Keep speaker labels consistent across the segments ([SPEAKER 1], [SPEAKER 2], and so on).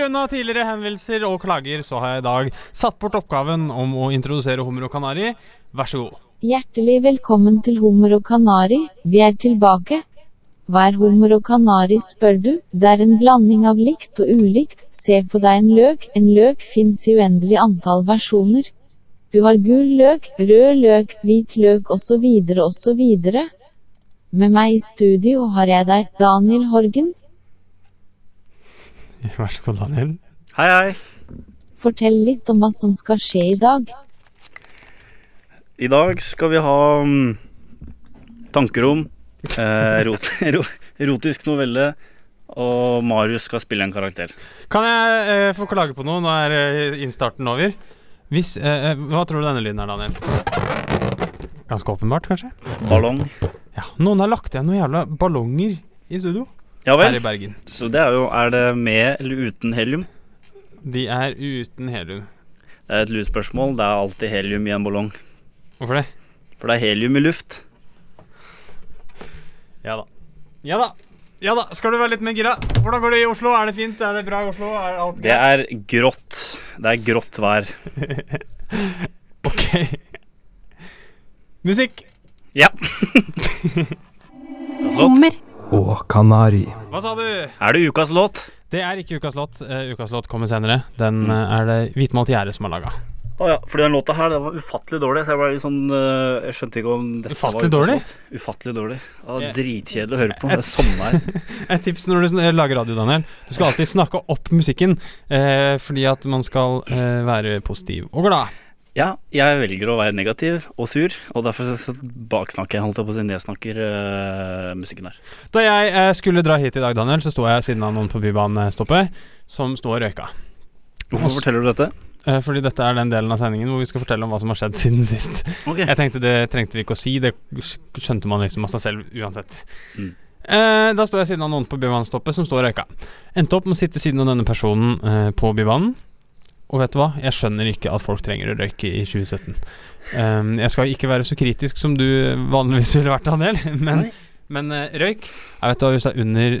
[SPEAKER 1] Unna tidligere henvendelser og klager, så har jeg i dag satt bort oppgaven om å introdusere hummer og kanari. Vær så god.
[SPEAKER 2] Hjertelig velkommen til Hummer og Kanari, vi er tilbake. Hva er hummer og kanari, spør du? Det er en blanding av likt og ulikt. Se for deg en løk, en løk fins i uendelig antall versjoner. Du har gul løk, rød løk, hvit løk osv. osv. Med meg i studio har jeg deg, Daniel Horgen.
[SPEAKER 1] Vær så god, Daniel.
[SPEAKER 3] Hei, hei.
[SPEAKER 2] Fortell litt om hva som skal skje i dag.
[SPEAKER 3] I dag skal vi ha mm, tanker om eh, rot, ro, erotisk novelle, og Marius skal spille en karakter.
[SPEAKER 1] Kan jeg eh, få klage på noe? Nå er eh, innstarten over. Hvis, eh, eh, hva tror du denne lyden er, Daniel? Ganske åpenbart, kanskje?
[SPEAKER 3] Ballong.
[SPEAKER 1] Ja, Noen har lagt igjen noen jævla ballonger i studio
[SPEAKER 3] Ja
[SPEAKER 1] her
[SPEAKER 3] vel.
[SPEAKER 1] i Bergen.
[SPEAKER 3] Så det er jo Er det med eller uten helium?
[SPEAKER 1] De er uten helium.
[SPEAKER 3] Det er et lurt spørsmål. Det er alltid helium i en ballong.
[SPEAKER 1] Hvorfor det?
[SPEAKER 3] For det er helium i luft.
[SPEAKER 1] Ja da. Ja da. Ja da, skal du være litt mer gira? Hvordan går det i Oslo? Er det fint? Er det bra i Oslo? Er alt
[SPEAKER 3] Det
[SPEAKER 1] greit?
[SPEAKER 3] er grått. Det er grått vær.
[SPEAKER 1] Ok. Musikk.
[SPEAKER 3] Ja. låt.
[SPEAKER 4] Hummer.
[SPEAKER 5] og kanari.
[SPEAKER 1] Hva sa du?
[SPEAKER 3] Er det ukas låt?
[SPEAKER 1] Det er ikke ukas låt. Eh, ukas låt kommer senere. Den eh, er det Hvitmalt gjerde som har laga.
[SPEAKER 3] Å ja, fordi den låta her, det var ufattelig dårlig. Så jeg ble litt sånn eh, Jeg skjønte ikke om dette
[SPEAKER 1] Ufattelig
[SPEAKER 3] var
[SPEAKER 1] dårlig?
[SPEAKER 3] ufattelig- Ufattelig dårlig. Ja,
[SPEAKER 1] Jeg-
[SPEAKER 3] dritkjedelig å høre på. Det er sommer.
[SPEAKER 1] Et tips når du sn- eh, lager radio, Daniel. Du skal alltid snakke opp musikken, eh, fordi at man skal eh, være positiv og glad.
[SPEAKER 3] Ja, jeg velger å være negativ og sur, og derfor så- så baksnakker jeg, holdt jeg på å si, nedsnakker eh, musikken her.
[SPEAKER 1] Da jeg eh, skulle dra hit i dag, Daniel, så sto jeg siden av noen på bybanestoppet som sto og røyka.
[SPEAKER 3] Hvorfor forteller du dette?
[SPEAKER 1] Eh, fordi dette er den delen av sendingen hvor vi skal fortelle om hva som har skjedd siden sist.
[SPEAKER 3] Ok.
[SPEAKER 1] Jeg tenkte det trengte vi ikke å si, det skjønte man liksom av seg selv uansett.
[SPEAKER 3] Mm.
[SPEAKER 1] Eh, da sto jeg siden av noen på bybanestoppet som står og røyka. Endte opp med å sitte siden av denne personen eh, på bybanen. Og vet du hva, jeg skjønner ikke at folk trenger å røyke i 2017. Um, jeg skal ikke være så kritisk som du eh, vanligvis ville vært, Daniel, men,
[SPEAKER 3] Nei.
[SPEAKER 1] men eh, røyk Jeg vet da, hvis det er under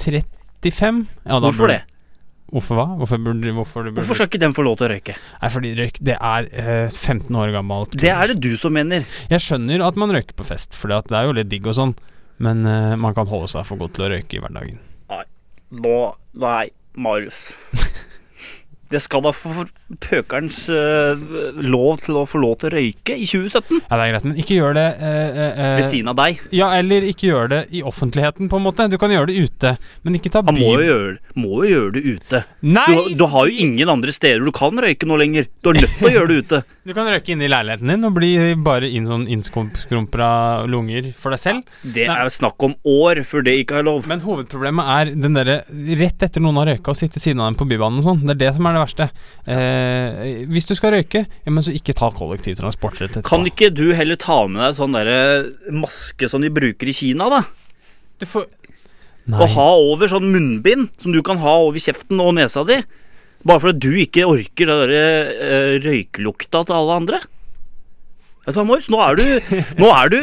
[SPEAKER 1] 35 ja, da
[SPEAKER 3] Hvorfor
[SPEAKER 1] burde-
[SPEAKER 3] det?
[SPEAKER 1] Hvorfor hva? Hvorfor burde, hvorfor det burde
[SPEAKER 3] Hvorfor skal ikke den få lov til å røyke?
[SPEAKER 1] Nei, fordi røyk, det er eh, 15 år gammelt.
[SPEAKER 3] Det er det du som mener.
[SPEAKER 1] Jeg skjønner at man røyker på fest, for det er jo litt digg og sånn. Men eh, man kan holde seg for godt til å røyke i hverdagen.
[SPEAKER 3] Nå, nei, Marius. Det skal da få for pøkerens eh, lov til å få lov til å røyke i 2017,
[SPEAKER 1] Ja, det er greit, men ikke gjør det eh, eh, eh,
[SPEAKER 3] ved siden av deg.
[SPEAKER 1] Ja, eller ikke gjør det i offentligheten, på en måte. Du kan gjøre det ute, men ikke ta
[SPEAKER 3] Han
[SPEAKER 1] bil.
[SPEAKER 3] må jo gjøre, må jo gjøre det ute.
[SPEAKER 1] Nei!
[SPEAKER 3] Du, du har jo ingen andre steder du kan røyke nå lenger. Du er nødt til å gjøre det ute.
[SPEAKER 1] Du kan røyke inne i leiligheten din og bli bare inn sånn innskrumpra lunger for deg selv.
[SPEAKER 3] Det
[SPEAKER 1] Nei.
[SPEAKER 3] er snakk om år før det ikke er lov.
[SPEAKER 1] Men hovedproblemet er den derre rett etter noen har røyka og sitte siden av dem på Bybanen og sånn. Det er det som er det verste. Eh, hvis du skal røyke, ja, men så ikke ta kollektivtransport rett etterpå.
[SPEAKER 3] Kan ikke du heller ta med deg sånn derre maske som de bruker i Kina, da?
[SPEAKER 1] du får Nei.
[SPEAKER 3] Og ha over sånn munnbind som du kan ha over kjeften og nesa di? Bare fordi du ikke orker den derre eh, røyklukta til alle andre? Vet du hva, Marius, nå er du Nå er du,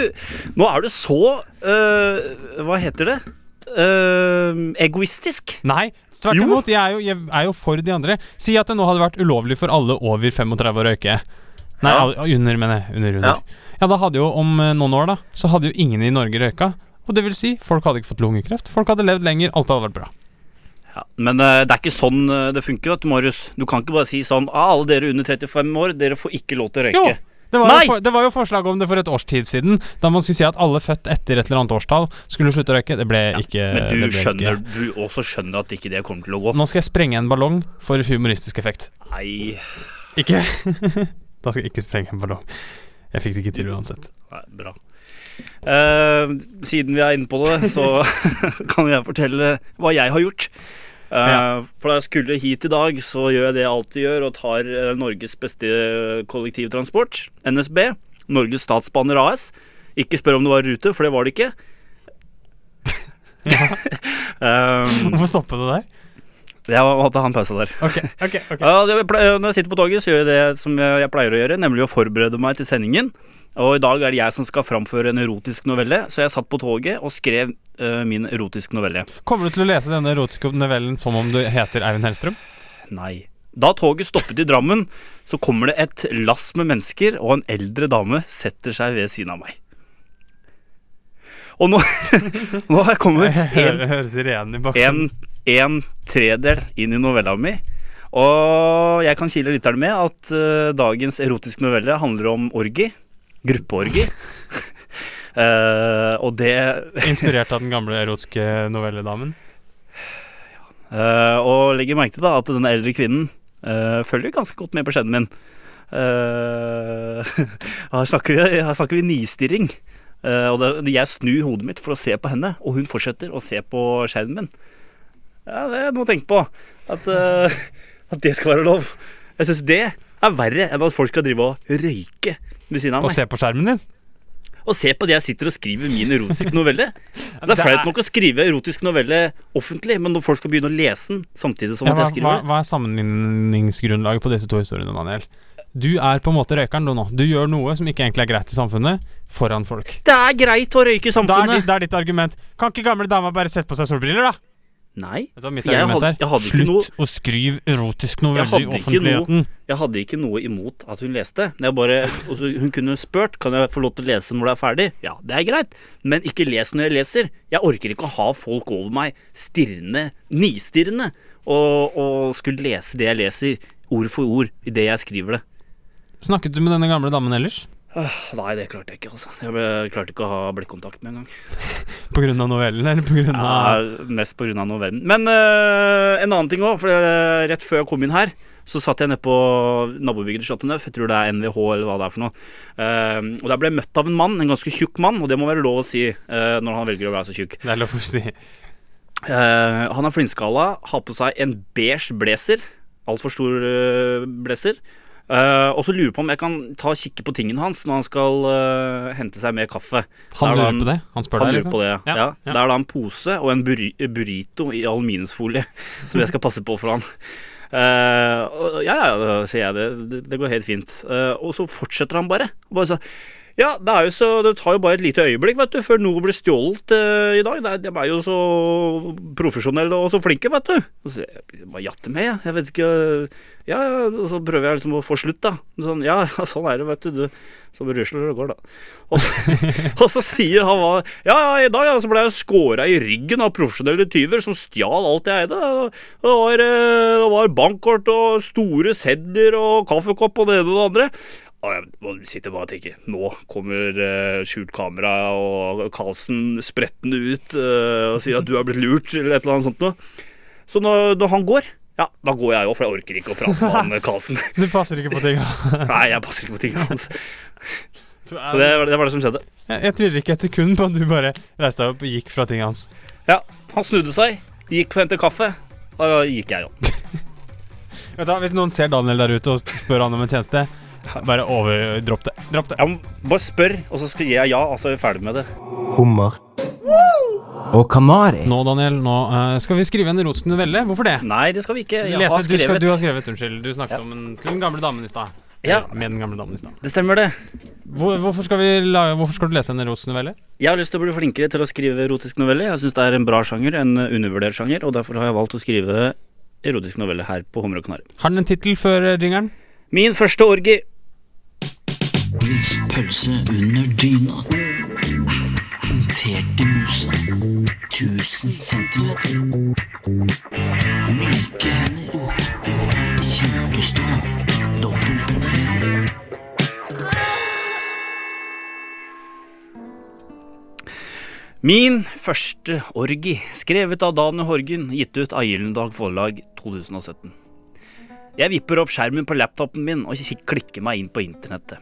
[SPEAKER 3] nå er du så eh, Hva heter det? Eh, egoistisk.
[SPEAKER 1] Nei, tvert
[SPEAKER 3] Jo.
[SPEAKER 1] imot. Jeg er, jo, jeg er jo for de andre. Si at det nå hadde vært ulovlig for alle over 35 å røyke. Nei,
[SPEAKER 3] Ja.
[SPEAKER 1] al- under, mener jeg. Under, under. Ja.
[SPEAKER 3] Ja.
[SPEAKER 1] da hadde jo om eh, noen år, da, så hadde jo ingen i Norge røyka. Og det vil si, folk hadde ikke fått lungekreft. Folk hadde levd lenger, alt hadde vært bra.
[SPEAKER 3] Ja, men eh, det er ikke sånn eh, det funker, vet du, Marius. Du kan ikke bare si sånn ah, Alle dere under 35 år, dere får ikke lov til å
[SPEAKER 1] Jo!
[SPEAKER 3] røyke.
[SPEAKER 1] Det var,
[SPEAKER 3] Nei!
[SPEAKER 1] jo for, det var jo forslag om det for et års tid siden, da man skulle si at alle født etter et eller annet årstall skulle slutte å røyke. Det ble ikke
[SPEAKER 3] Men
[SPEAKER 1] det
[SPEAKER 3] du
[SPEAKER 1] ble
[SPEAKER 3] skjønner,
[SPEAKER 1] ikke.
[SPEAKER 3] du også skjønner at ikke det kommer til å gå.
[SPEAKER 1] Nå skal jeg sprenge en ballong for humoristisk effekt.
[SPEAKER 3] Nei,
[SPEAKER 1] Ikke Da skal jeg ikke sprenge en ballong. Jeg fikk det ikke til uansett.
[SPEAKER 3] nei bra. Eh, siden vi er inne på det, så kan jeg fortelle hva jeg har gjort. Eh,
[SPEAKER 1] Ja.
[SPEAKER 3] For da jeg skulle hit i dag, så gjør jeg det jeg alltid gjør, og tar eh, Norges beste kollektivtransport, NSB. Norges Statsbaner AS. Ikke spør om det var rute, for det var det ikke. Eh,
[SPEAKER 1] Hvorfor stoppe det der?
[SPEAKER 3] jeg måtte ha en pause der.
[SPEAKER 1] Ok, ok, ok
[SPEAKER 3] Ja, det, jeg pleier- når jeg sitter på toget, så gjør jeg det som jeg jeg pleier å gjøre, nemlig å forberede meg til sendingen. Og i dag er det jeg som skal framføre en erotisk novelle, så jeg satt på toget og skrev eh, min erotiske novelle.
[SPEAKER 1] Kommer du til å lese denne erotiske novellen som om du heter Eivind Hellstrøm?
[SPEAKER 3] Nei. Da toget stoppet i Drammen, så kommer det et lass med mennesker, og en eldre dame setter seg ved siden av meg. Og nå, nå har jeg kommet helt
[SPEAKER 1] Hører, hører sirenen i
[SPEAKER 3] en,
[SPEAKER 1] bakgrunnen.
[SPEAKER 3] en tredel inn i novella mi. Og jeg kan kile lytterne med at eh, dagens erotiske novelle handler om orgi. Gruppeorgi. Eh, og det
[SPEAKER 1] Inspirert av den gamle erotiske novelledamen.
[SPEAKER 3] eh, Og legger merke til da at denne eldre kvinnen eh, følger ganske godt med på skjeden min. Eh, her, snakker vi, her snakker vi nistirring. Eh, og det, jeg snur hodet mitt for å se på henne, og hun fortsetter å se på skjermen min. Ja, det er noe å tenke på. At, eh, at det skal være lov. Jeg syns det er verre enn at folk skal drive og røyke ved siden av
[SPEAKER 1] Og
[SPEAKER 3] meg.
[SPEAKER 1] se på skjermen din.
[SPEAKER 3] Og se på det jeg sitter og skriver i min erotiske novelle. Det
[SPEAKER 1] Det
[SPEAKER 3] er
[SPEAKER 1] er-
[SPEAKER 3] flaut nok å skrive erotisk novelle offentlig, men når folk skal begynne å lese den samtidig som
[SPEAKER 1] Ja,
[SPEAKER 3] at
[SPEAKER 1] hva,
[SPEAKER 3] jeg
[SPEAKER 1] hva,
[SPEAKER 3] skriver det
[SPEAKER 1] hva er sammenligningsgrunnlaget på disse to historiene, Daniel? Du er på en måte røykeren du nå. Du gjør noe som ikke egentlig er greit i samfunnet, foran folk.
[SPEAKER 3] Det er greit å røyke i
[SPEAKER 1] Da er, ditt,
[SPEAKER 3] samfunnet!
[SPEAKER 1] da er ditt argument Kan ikke gamle dama bare sette på seg solbriller, da?
[SPEAKER 3] Nei.
[SPEAKER 1] Vet du hva mitt
[SPEAKER 3] Jeg
[SPEAKER 1] argument
[SPEAKER 3] hadde-
[SPEAKER 1] er?
[SPEAKER 3] jeg hadde ikke
[SPEAKER 1] Slutt å skrive erotisk
[SPEAKER 3] Jeg
[SPEAKER 1] novelle i
[SPEAKER 3] hadde ikke noe-
[SPEAKER 1] offentligheten.
[SPEAKER 3] Jeg hadde ikke noe imot at hun leste. men Jeg bare, og så hun kunne spurt Kan jeg få lov til å lese når det er ferdig. Ja, det er greit, men ikke les når jeg leser. Jeg orker ikke å ha folk over meg stirrende, nistirrende, og, og skulle lese det jeg leser, ord for ord, i det jeg skriver det.
[SPEAKER 1] Snakket du med denne gamle damen ellers?
[SPEAKER 3] Åh, Ah, Nei, det klarte jeg ikke, altså. Jeg ble- klarte ikke å ha blikkontakt med en gang.
[SPEAKER 1] På grunn av novellen, eller på grunn av
[SPEAKER 3] Ja, mest på grunn av novellen. Men eh, en annen ting òg, for eh, rett før jeg kom inn her, så satt jeg nede på nabobygget til Chateau Neuf, jeg tror det er NVH eller hva det er for noe. Eh, og der ble jeg møtt av en mann, en ganske tjukk mann, og det må være lov å si eh, når han velger å være så tjukk.
[SPEAKER 1] Det er lov å si.
[SPEAKER 3] Eh, han er flintskalla, har på seg en beige blazer. Altfor stor eh, blazer. Eh, og så lurer jeg på om jeg kan ta og kikke på tingen hans når han skal eh, hente seg mer kaffe.
[SPEAKER 1] Han
[SPEAKER 3] Der da
[SPEAKER 1] lurer på det? Han spør
[SPEAKER 3] han
[SPEAKER 1] deg,
[SPEAKER 3] lurer
[SPEAKER 1] liksom?
[SPEAKER 3] på det, ja.
[SPEAKER 1] Ja,
[SPEAKER 3] ja.
[SPEAKER 1] ja.
[SPEAKER 3] Det er da en pose og en burri burrito i aluminiumsfolie som jeg skal passe på for han. Eh, og- ja, ja, ja, sier jeg. Det, det, det går helt fint. Eh, og så fortsetter han bare. Og bare så, ja, det, er jo så, det tar jo bare et lite øyeblikk vet du, før noe blir stjålet eh, i dag. Det er, de er jo så profesjonelle og så flinke, vet du. Og så, jeg bare jatter med, jeg. Jeg vet ikke Ja, ja, og så prøver jeg liksom å få slutt, da. Sånn, ja, ja, sånn er det, vet du. du så rusler det går, da. Og, og så sier han hva Ja, ja, i dag ja, så ble jeg skåra i ryggen av profesjonelle tyver som stjal alt jeg eide. Det var, eh, det var bankkort og store sedler og kaffekopp og det ene og det andre. Og jeg bare sitter bare og tenker Nå kommer eh, skjult kamera og Karlsen sprettende ut eh, og sier at du er blitt lurt, eller et eller annet sånt noe. Så når, når han går, ja, da går jeg òg, for jeg orker ikke å prate med han Karlsen.
[SPEAKER 1] Du passer ikke på ting.
[SPEAKER 3] Nei, jeg passer ikke på tingene hans.
[SPEAKER 1] Du
[SPEAKER 3] Så
[SPEAKER 1] er-
[SPEAKER 3] det, var- det var det som skjedde.
[SPEAKER 1] Jeg, jeg tviler ikke et sekund på at du bare reiste deg opp og gikk fra tingene hans.
[SPEAKER 3] Ja, han snudde seg, gikk og hentet kaffe. Og da gikk jeg opp.
[SPEAKER 1] Vet du, hva, Hvis noen ser Daniel der ute og spør han om en tjeneste, bare over, dropp det. Dropp det.
[SPEAKER 3] Jeg må bare spør, og så skal jeg ja, og så er vi ferdig med det.
[SPEAKER 4] hummer og kanari.
[SPEAKER 1] Nå, Daniel, nå eh, skal vi skrive en erotisk novelle. Hvorfor det?
[SPEAKER 3] Nei, det skal vi ikke. Jeg
[SPEAKER 1] Lese,
[SPEAKER 3] har
[SPEAKER 1] du, skal,
[SPEAKER 3] skrevet.
[SPEAKER 1] du har skrevet, unnskyld. Du snakket om en, til den gamle damen i stad.
[SPEAKER 3] Ja.
[SPEAKER 1] Eller Med den gamle damen i stad.
[SPEAKER 3] Det stemmer det.
[SPEAKER 1] Hvor, hvorfor, skal vi lage, hvorfor skal du lese en erotisk novelle?
[SPEAKER 3] Jeg har lyst til å bli flinkere til å skrive erotisk novelle. Jeg syns det er en bra sjanger, en undervurdert sjanger, og derfor har jeg valgt å skrive erotisk novelle her på Hummer og Kanari.
[SPEAKER 1] Har den en tittel før eh, jingeren?
[SPEAKER 3] Min første orgi. Pølse under dyna. Håndterte musa. 1000 centimeter. Myke hender. Kjempestor. Dobbeltbenter. Min første orgi, skrevet av Dan Horgen, gitt ut av Gyllendag Forlag 2017. Jeg vipper opp skjermen på laptopen min og kik- klikker meg inn på internettet.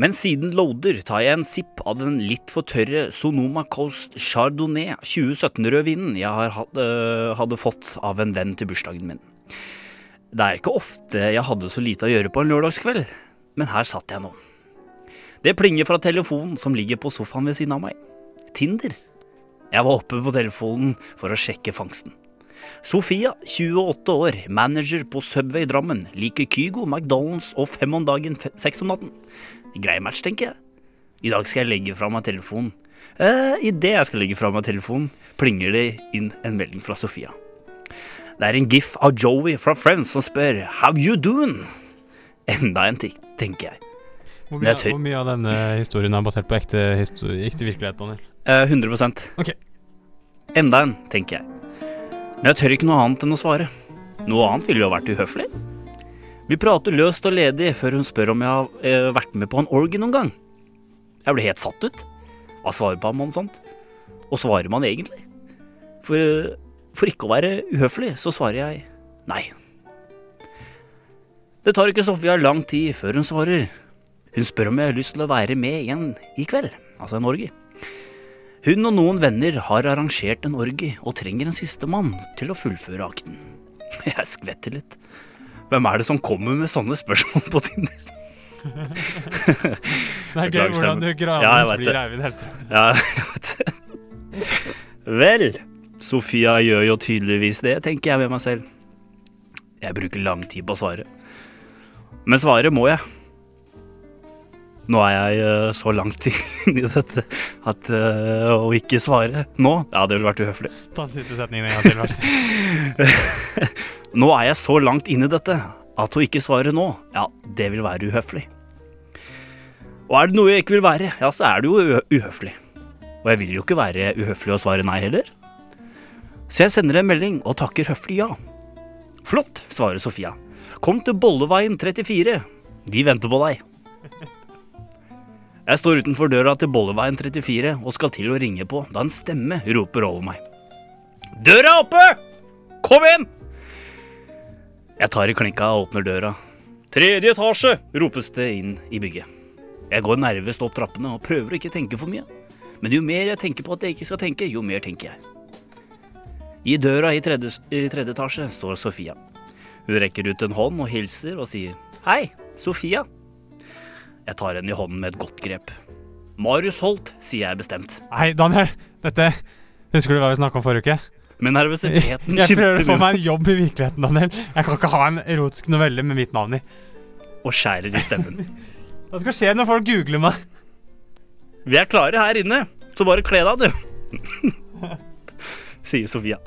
[SPEAKER 3] Men siden loader tar jeg en sipp av den litt for tørre Sonoma Coast Chardonnay 2017-rødvinen jeg har hatt, øh, hadde fått av en venn til bursdagen min. Det er ikke ofte jeg hadde så lite å gjøre på en lørdagskveld, men her satt jeg nå. Det plinger fra telefonen som ligger på sofaen ved siden av meg. Tinder. Jeg var oppe på telefonen for å sjekke fangsten. Sofia, 28 år, manager på Subway Drammen, liker Kygo, McDonald's og fem om dagen, fe- seks om natten. Grei match, tenker jeg. I dag skal jeg legge fra meg telefonen. Eh, Idet jeg skal legge fra meg telefonen, plinger det inn en melding fra Sofia. Det er en gif av Joey fra Friends som spør How you doing? Enda en ting, tenker jeg.
[SPEAKER 1] Hvor
[SPEAKER 3] Men
[SPEAKER 1] mye,
[SPEAKER 3] jeg tør-
[SPEAKER 1] hvor mye av denne historien er basert på ekte, histo- ekte virkelighet, Daniel?
[SPEAKER 3] Eh, 100
[SPEAKER 1] Ok.
[SPEAKER 3] Enda en, tenker jeg. Men jeg tør ikke noe annet enn å svare. Noe annet ville jo vært uhøflig. Vi prater løst og ledig før hun spør om jeg har eh, vært med på en orgie noen gang. Jeg ble helt satt ut. Hva svarer man om sånt? Og svarer man egentlig? For, eh, for ikke å være uhøflig, så svarer jeg nei. Det tar ikke Sofia lang tid før hun svarer. Hun spør om jeg har lyst til å være med igjen i kveld, altså en orgie. Hun og noen venner har arrangert en orgie og trenger en sistemann til å fullføre akten. Jeg skvetter litt. Hvem er det som kommer med sånne spørsmål på Tinder?
[SPEAKER 1] Det er gøy
[SPEAKER 3] Beklager
[SPEAKER 1] hvordan du
[SPEAKER 3] stemmen. Ja, jeg
[SPEAKER 1] gradvis
[SPEAKER 3] vet det.
[SPEAKER 1] blir Eivind Hellstrøm.
[SPEAKER 3] Ja, jeg vet det. Vel, Sofia gjør jo tydeligvis det, tenker jeg med meg selv. Jeg bruker lang tid på å svare. Men svare må jeg. Nå er jeg eh, så langt inn i dette at eh, å ikke svare nå, ja, det ville vært uhøflig.
[SPEAKER 1] Ta den siste setningen en gang til. vær så snill.
[SPEAKER 3] Nå er jeg så langt inn i dette at å ikke svare nå, ja, det vil være uhøflig. Og er det noe jeg ikke vil være, ja, så er det jo u- uhøflig. Og jeg vil jo ikke være uhøflig og svare nei heller. Så jeg sender en melding og takker høflig ja. Flott, svarer Sofia. Kom til Bolleveien 34. Vi venter på deg. Jeg står utenfor døra til Bolleveien 34 og skal til å ringe på da en stemme roper over meg. Døra er oppe! Kom inn! Jeg tar i klinka og åpner døra. Tredje etasje! ropes det inn i bygget. Jeg går nervøst opp trappene og prøver å ikke tenke for mye. Men jo mer jeg tenker på at jeg ikke skal tenke, jo mer tenker jeg. I døra i tredje, i tredje etasje står Sofia. Hun rekker ut en hånd og hilser og sier Hei, Sofia. Jeg tar henne i hånden med et godt grep. Marius Holt, sier jeg bestemt.
[SPEAKER 1] Nei, Daniel, dette Husker du hva vi snakka om forrige uke?
[SPEAKER 3] Men
[SPEAKER 1] Jeg
[SPEAKER 3] nervøsiteten
[SPEAKER 1] prøver å
[SPEAKER 3] skimter
[SPEAKER 1] få
[SPEAKER 3] meg
[SPEAKER 1] meg en jobb i virkeligheten, Daniel. Jeg kan ikke ha en erotisk novelle med mitt navn i.
[SPEAKER 3] og skjærer i stemmen.
[SPEAKER 1] Hva skal skje når folk googler meg?
[SPEAKER 3] Vi er klare her inne, så bare kle deg, du. Sier Sofia.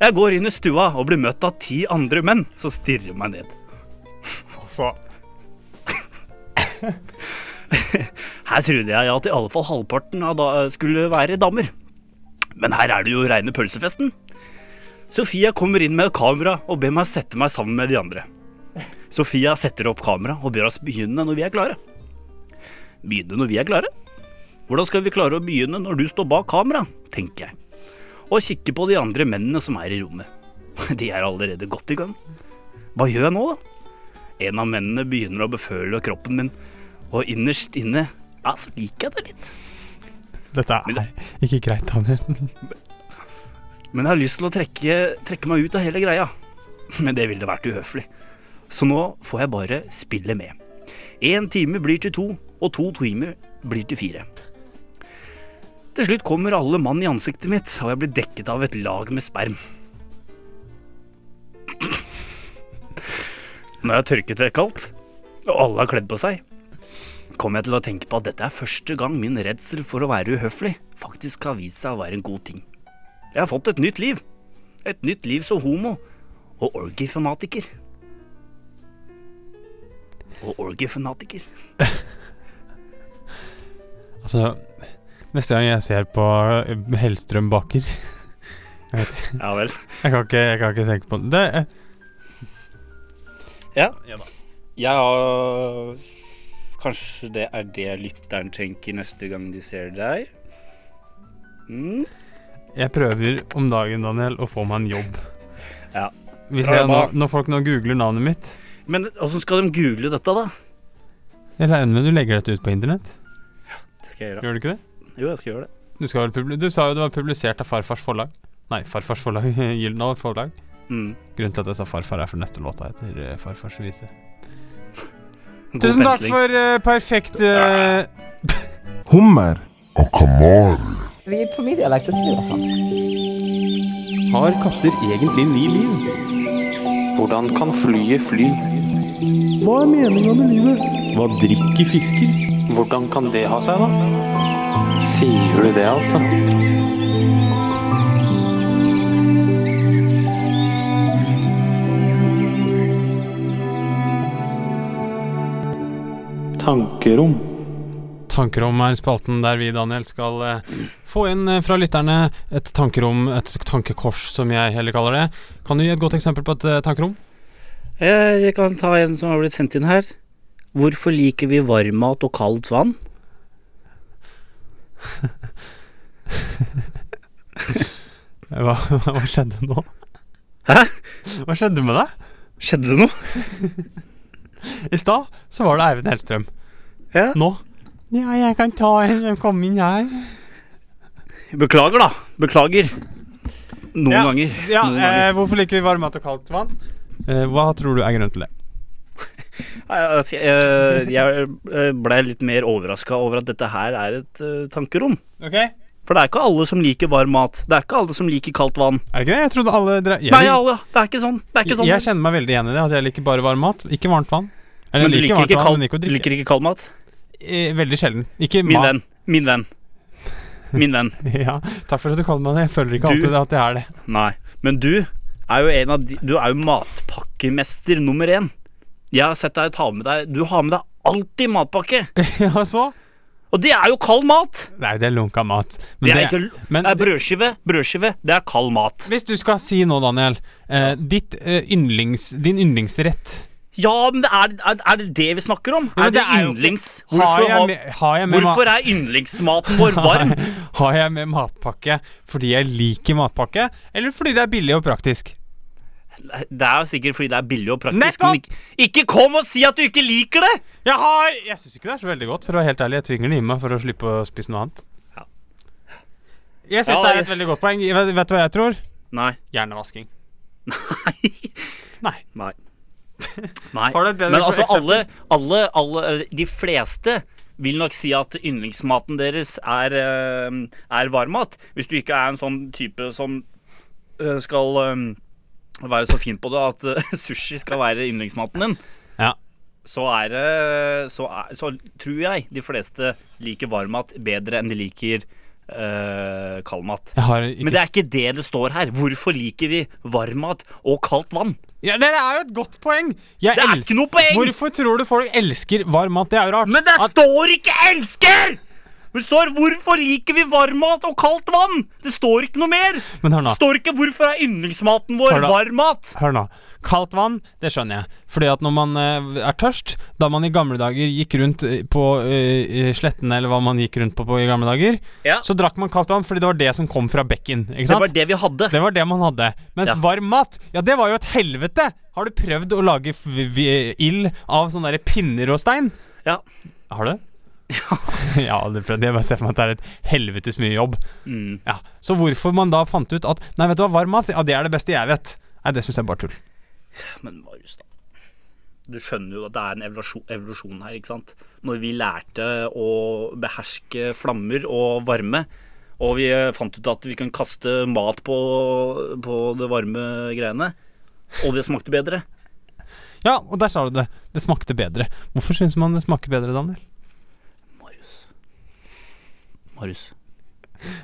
[SPEAKER 3] Jeg går inn i stua og blir møtt av ti andre menn som stirrer meg ned.
[SPEAKER 1] Altså,
[SPEAKER 3] Her trodde jeg at i alle fall halvparten av da skulle være damer. Men her er det jo reine pølsefesten. Sofia kommer inn med kamera og ber meg sette meg sammen med de andre. Sofia setter opp kamera og ber oss begynne når vi er klare. Begynne når vi er klare? Hvordan skal vi klare å begynne når du står bak kamera, tenker jeg. Og kikker på de andre mennene som er i rommet. De er allerede godt i gang. Hva gjør jeg nå, da? En av mennene begynner å beføle kroppen min, og innerst inne ja, så liker jeg det litt.
[SPEAKER 1] dette er ikke greit, Daniel.
[SPEAKER 3] Men jeg har lyst til å trekke, trekke meg ut av hele greia. Men det ville vært uhøflig. Så nå får jeg bare spille med. Én time blir til to, og to timer blir til fire. Til slutt kommer alle mann i ansiktet mitt, og jeg blir dekket av et lag med sperm. Når jeg har tørket det kaldt, og alle har kledd på seg, kommer jeg til å tenke på at dette er første gang min redsel for å være uhøflig faktisk har vist seg å være en god ting. Jeg har fått et nytt liv. Et nytt liv som homo. Og orgiefanatiker. Og orgiefanatiker.
[SPEAKER 1] Altså, neste gang jeg ser på Hellstrøm baker Jeg vet ikke.
[SPEAKER 3] Ja vel.
[SPEAKER 1] Jeg kan ikke, jeg kan ikke tenke på det. det. er-
[SPEAKER 3] Ja. Jeg har Kanskje det er det lytteren tenker neste gang de ser deg. Mm.
[SPEAKER 1] Jeg prøver om dagen, Daniel, å få meg en jobb.
[SPEAKER 3] Ja.
[SPEAKER 1] Hvis
[SPEAKER 3] Bra
[SPEAKER 1] jeg,
[SPEAKER 3] jobba.
[SPEAKER 1] nå, når folk nå googler navnet mitt
[SPEAKER 3] Men åssen skal de google dette, da?
[SPEAKER 1] Jeg regner med du legger dette ut på internett?
[SPEAKER 3] Det skal jeg
[SPEAKER 1] Gjør du ikke det?
[SPEAKER 3] Jo, jeg skal gjøre det.
[SPEAKER 1] Du, skal vel publi du sa jo det var publisert av farfars forlag. Nei, farfars forlag. Gyldendal forlag.
[SPEAKER 3] Mm.
[SPEAKER 1] Grunnen til at jeg sa farfar, er for neste låta heter eh, Farfars vise.
[SPEAKER 3] God
[SPEAKER 1] Tusen takk
[SPEAKER 3] pensling.
[SPEAKER 1] for eh, perfekt eh,
[SPEAKER 4] Hummer.
[SPEAKER 5] Vi er på min dialekt, jeg tror i hvert fall.
[SPEAKER 6] Har katter egentlig ni liv? Hvordan kan flyet fly?
[SPEAKER 5] Hva er meningen med livet?
[SPEAKER 6] Hva drikker fisker? Hvordan kan det ha seg, da? Sier du det, altså? Tankerom.
[SPEAKER 1] Tankerom er spalten der vi, Daniel, skal eh, få inn eh, fra lytterne et tankerom, et tankekors, som jeg heller kaller det. Kan du gi et godt eksempel på et eh, tankerom?
[SPEAKER 3] Jeg, Eh, jeg kan ta en som har blitt sendt inn her. Hvorfor liker vi varmmat og kaldt vann?
[SPEAKER 1] Hva, hva skjedde nå?
[SPEAKER 3] Hæ?
[SPEAKER 1] Hva skjedde med deg?
[SPEAKER 3] Skjedde det noe?
[SPEAKER 1] I stad så var det Eivind Hellstrøm.
[SPEAKER 3] Ja.
[SPEAKER 1] Nå Ja, jeg kan ta en som kom inn her.
[SPEAKER 3] Beklager, da. Beklager. Noen
[SPEAKER 1] Ja.
[SPEAKER 3] ganger.
[SPEAKER 1] Ja,
[SPEAKER 3] Noen
[SPEAKER 1] eh, hvorfor liker vi varmmat og kaldt vann? Eh, hva tror du er grunnen til det?
[SPEAKER 3] Nei, altså, Jeg, jeg blei litt mer overraska over at dette her er et eh, tankerom.
[SPEAKER 1] Ok Er
[SPEAKER 3] For det er ikke alle som liker varm mat. Det er ikke alle som liker kaldt vann.
[SPEAKER 1] det ikke det? Jeg trodde alle dre... jeg,
[SPEAKER 3] Nei, alle. Det er ikke sånn. Det er ikke sånn
[SPEAKER 1] jeg, jeg kjenner meg veldig igjen i det, at jeg liker bare varm mat, ikke varmt vann. Eller
[SPEAKER 3] men du
[SPEAKER 1] jeg
[SPEAKER 3] liker ikke,
[SPEAKER 1] varmt vann,
[SPEAKER 3] kald,
[SPEAKER 1] men ikke å
[SPEAKER 3] du
[SPEAKER 1] drikke.
[SPEAKER 3] liker ikke kald mat?
[SPEAKER 1] Eh, veldig sjelden. Ikke
[SPEAKER 3] Min
[SPEAKER 1] mat.
[SPEAKER 3] venn. Min venn. Min venn.
[SPEAKER 1] Ja, takk for at du kaller meg det. Jeg føler ikke
[SPEAKER 3] Du-
[SPEAKER 1] alltid at jeg er det.
[SPEAKER 3] Nei. Men du er jo en av de Du er jo matpakkemester nummer én. Jeg har sett deg ta med deg Du har med deg alltid matpakke.
[SPEAKER 1] Ja, så?
[SPEAKER 3] Og det er jo kald mat!
[SPEAKER 1] Nei, det er lunka mat.
[SPEAKER 3] Det
[SPEAKER 1] Men
[SPEAKER 3] er,
[SPEAKER 1] det, Eh,
[SPEAKER 3] ikke,
[SPEAKER 1] men
[SPEAKER 3] det er
[SPEAKER 1] det-
[SPEAKER 3] brødskive. Brødskive. Det er kald mat.
[SPEAKER 1] hvis du skal si nå, Daniel, eh, ditt, eh, yndlings, din yndlingsrett
[SPEAKER 3] Ja, men er, er, er det det vi snakker om?
[SPEAKER 1] Ja, men
[SPEAKER 3] er det,
[SPEAKER 1] det er jo ikke-
[SPEAKER 3] yndlings?
[SPEAKER 1] har
[SPEAKER 3] Hvorfor,
[SPEAKER 1] jeg,
[SPEAKER 3] har-
[SPEAKER 1] med, har, jeg med
[SPEAKER 3] hvorfor
[SPEAKER 1] ma-
[SPEAKER 3] er yndlingsmaten vår varm?
[SPEAKER 1] har jeg med matpakke fordi jeg liker matpakke, eller fordi det er billig og praktisk?
[SPEAKER 3] Det er jo sikkert fordi det er billig og praktisk.
[SPEAKER 1] Nettopp!
[SPEAKER 3] Men ikke, ikke kom og si at du ikke liker det!
[SPEAKER 1] Jeg har Jeg syns ikke det er så veldig godt, for å være helt ærlig. Jeg tvinger det i meg for å slippe å spise noe annet.
[SPEAKER 3] Ja.
[SPEAKER 1] Jeg syns
[SPEAKER 3] Ja,
[SPEAKER 1] det er
[SPEAKER 3] jeg-
[SPEAKER 1] et veldig godt poeng. Vet, vet du hva jeg tror?
[SPEAKER 3] Nei.
[SPEAKER 1] Hjernevasking.
[SPEAKER 3] Nei. Nei.
[SPEAKER 1] Har du et bedre
[SPEAKER 3] Men altså,
[SPEAKER 1] eksempel?
[SPEAKER 3] alle, alle, alle eller De fleste vil nok si at yndlingsmaten deres er, eh, er varmmat. Hvis du ikke er en sånn type som eh, skal eh, være så fin på det at eh, sushi skal være yndlingsmaten din.
[SPEAKER 1] Ja.
[SPEAKER 3] Så er det så, er, så tror jeg de fleste liker varmmat bedre enn de liker eh, kaldmat.
[SPEAKER 1] Jeg har ikke
[SPEAKER 3] Men det er ikke det det står her. Hvorfor liker vi varmmat og kaldt vann?
[SPEAKER 1] Ja, Det er jo et godt poeng! Jeg
[SPEAKER 3] Det er
[SPEAKER 1] el-
[SPEAKER 3] ikke noe poeng!
[SPEAKER 1] Hvorfor tror du folk elsker varm mat? Det er jo rart.
[SPEAKER 3] Men det
[SPEAKER 1] At-
[SPEAKER 3] står ikke 'elsker'! Det står 'hvorfor liker vi varmmat og kaldt vann'? Det står ikke noe mer.
[SPEAKER 1] Men hør nå.
[SPEAKER 3] Det står ikke 'hvorfor er yndlingsmaten vår
[SPEAKER 1] Hør da.
[SPEAKER 3] varmmat'?
[SPEAKER 1] Hør nå. Kaldt vann, det skjønner jeg. Fordi at når man eh, er tørst Da man i gamle dager gikk rundt eh, på eh, slettene, eller hva man gikk rundt på, på i gamle dager,
[SPEAKER 3] Ja.
[SPEAKER 1] så drakk man kaldt vann fordi det var det som kom fra bekken. Ikke
[SPEAKER 3] Det
[SPEAKER 1] sant?
[SPEAKER 3] var det vi hadde.
[SPEAKER 1] Det var det man hadde. Mens
[SPEAKER 3] Ja.
[SPEAKER 1] varm mat, ja, det var jo et helvete! Har du prøvd å lage f- v- ild av sånne der pinner og stein?
[SPEAKER 3] Ja.
[SPEAKER 1] Har du? Ja. ja, det prøvde jeg bare ser for meg at det er et helvetes mye jobb.
[SPEAKER 3] Mm.
[SPEAKER 1] Ja, Så hvorfor man da fant ut at Nei, vet du hva, varm mat, ja, det er det beste jeg vet. Nei, det syns jeg bare er tull.
[SPEAKER 3] Men Marius, da. Du skjønner jo at det er en evolusjon, evolusjon her, ikke sant? Når vi lærte å beherske flammer og varme, og vi eh, fant ut at vi kan kaste mat på, på det varme greiene, og det smakte bedre.
[SPEAKER 1] Ja, og der sa du det. Det smakte bedre. Hvorfor syns man det smaker bedre, Daniel?
[SPEAKER 3] Marius. Marius.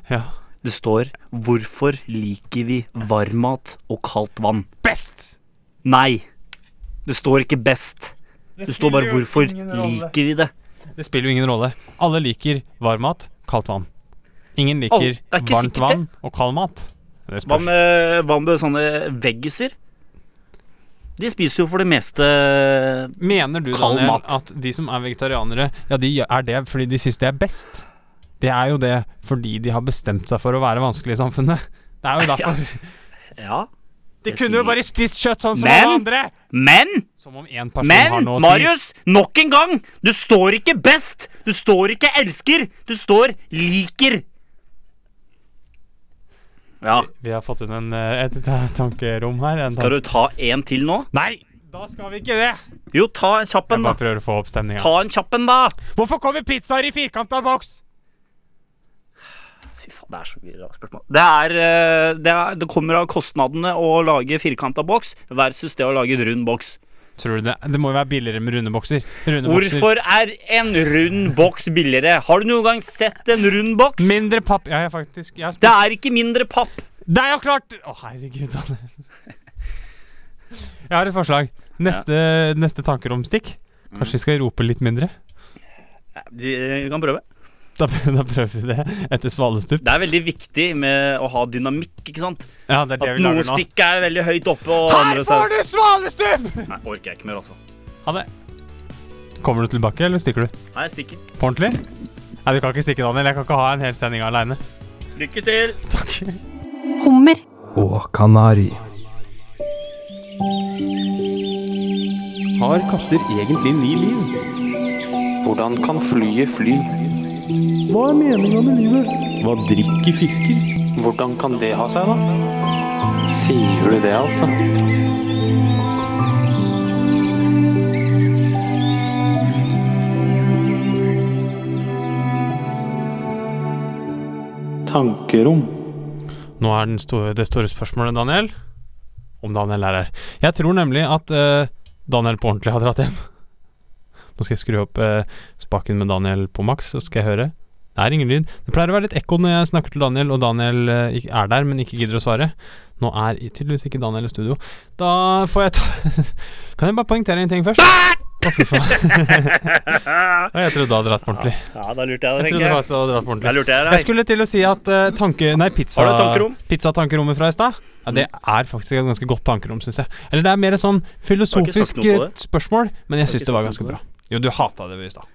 [SPEAKER 1] Ja.
[SPEAKER 3] Det står 'Hvorfor liker vi varmmat og kaldt vann?'
[SPEAKER 1] Best!
[SPEAKER 3] Nei! Det står ikke 'best'. Det står bare 'Hvorfor liker vi det'?
[SPEAKER 1] Det spiller jo ingen rolle. Alle liker varm mat, kaldt vann. Ingen
[SPEAKER 3] Alle-
[SPEAKER 1] liker
[SPEAKER 3] det er ikke
[SPEAKER 1] varmt
[SPEAKER 3] sikkert det.
[SPEAKER 1] vann og kald mat. Det
[SPEAKER 3] Hva
[SPEAKER 1] spørs.
[SPEAKER 3] med, hva med sånne veggiser? De spiser jo for det meste
[SPEAKER 1] Mener du,
[SPEAKER 3] Kald
[SPEAKER 1] Daniel,
[SPEAKER 3] mat.
[SPEAKER 1] at de som er vegetarianere, ja, de er det fordi de syns det er best? Det er jo det fordi de har bestemt seg for å være vanskelig i samfunnet. Det er jo derfor.
[SPEAKER 3] Ja.
[SPEAKER 1] De
[SPEAKER 3] det
[SPEAKER 1] kunne jo
[SPEAKER 3] sier-
[SPEAKER 1] bare spist kjøtt sånn som
[SPEAKER 3] Men-
[SPEAKER 1] alle andre!
[SPEAKER 3] Men!
[SPEAKER 1] Som om én person Altså, har
[SPEAKER 3] Men
[SPEAKER 1] noe å
[SPEAKER 3] Marius, nok en gang! Du står ikke best! Du står ikke elsker! Du står liker! Ja.
[SPEAKER 1] si. Vi har fått inn en, eh, et ta- tankerom her. En
[SPEAKER 3] Skal
[SPEAKER 1] tanke.
[SPEAKER 3] du ta en til nå?
[SPEAKER 1] Nei! Da skal vi ikke det!
[SPEAKER 3] Jo, ta en kjapp
[SPEAKER 1] Jeg
[SPEAKER 3] en, da.
[SPEAKER 1] bare prøver å få opp stemninga.
[SPEAKER 3] Ta en kjapp en, da.
[SPEAKER 1] Hvorfor kommer pizzaer i firkanta boks?
[SPEAKER 3] Fy faen, det er så mye rare spørsmål. Det, er, eh, det, er, det kommer av kostnadene å lage firkanta boks versus det å lage en rund boks.
[SPEAKER 1] Tror du det? Det må jo være billigere med runde bokser. Runde bokser.
[SPEAKER 3] Hvorfor er en rund boks billigere? Har du noen gang sett en rund boks?
[SPEAKER 1] Mindre papp Ja, jeg faktisk jeg har spist
[SPEAKER 3] Det er ikke mindre papp.
[SPEAKER 1] Det er jo klart! Å, herregud, Daniel. Jeg har et forslag. Neste, neste tankeromstikk. Kanskje vi skal rope litt mindre?
[SPEAKER 3] Ja, Vi vi eh, kan prøve.
[SPEAKER 1] Da, prø- da prøver vi det etter svalestup.
[SPEAKER 3] Det er veldig viktig med å ha dynamikk, ikke sant?
[SPEAKER 1] Ja, det er det
[SPEAKER 3] At
[SPEAKER 1] vi
[SPEAKER 3] noen
[SPEAKER 1] lager nå.
[SPEAKER 3] stikk er veldig høyt oppe og andre
[SPEAKER 1] du svalestup!
[SPEAKER 3] Nei, orker jeg ikke mer, altså.
[SPEAKER 1] Ha det. Kommer du tilbake, eller stikker du?
[SPEAKER 3] Nei, jeg stikker.
[SPEAKER 1] På ordentlig? Nei, du kan ikke stikke, Daniel. Jeg kan ikke ha en hel sending aleine.
[SPEAKER 3] Lykke til!
[SPEAKER 1] Takk.
[SPEAKER 7] Hummer.
[SPEAKER 4] og kanari.
[SPEAKER 6] Har katter egentlig ni liv? Hvordan kan flyet fly?
[SPEAKER 4] Hva er meninga med livet?
[SPEAKER 6] Hva drikker fisker? Hvordan kan det ha seg, da? Sier du det, altså? Tankerom.
[SPEAKER 1] Nå er den store, det store spørsmålet, Daniel. Om Daniel er her. Jeg tror nemlig at eh, Daniel på ordentlig har dratt hjem. Nå skal jeg skru opp eh, spaken med Daniel på maks, så skal jeg høre. Det er ingen lyd. Det pleier å være litt ekko når jeg snakker til Daniel, og Daniel eh, ikke- er der, men ikke gidder å svare. Nå er i- tydeligvis ikke Daniel i studio. Da får jeg ta Kan jeg bare poengtere en ting først?
[SPEAKER 3] Ah!
[SPEAKER 1] Å, fy faen. Og jeg trodde du hadde dratt på ordentlig.
[SPEAKER 3] Ja, da lurte
[SPEAKER 1] Jeg
[SPEAKER 3] jeg deg,
[SPEAKER 1] trodde
[SPEAKER 3] tenker jeg.
[SPEAKER 1] faktisk du hadde dratt på ordentlig.
[SPEAKER 3] Da lurte jeg
[SPEAKER 1] Jeg
[SPEAKER 3] deg.
[SPEAKER 1] skulle til å si at eh, tanke... Nei, pizza,
[SPEAKER 3] Har du tankerom?
[SPEAKER 1] pizzatankerommet fra i stad ja, Det er faktisk et ganske godt tankerom, syns jeg. Eller det er mer et sånn
[SPEAKER 3] sagt
[SPEAKER 1] filosofisk eh,
[SPEAKER 3] noe på det.
[SPEAKER 1] spørsmål, men jeg
[SPEAKER 3] Har ikke
[SPEAKER 1] syns det var
[SPEAKER 3] sagt
[SPEAKER 1] ganske
[SPEAKER 3] noe på
[SPEAKER 1] bra. Jo, du hata det i stad.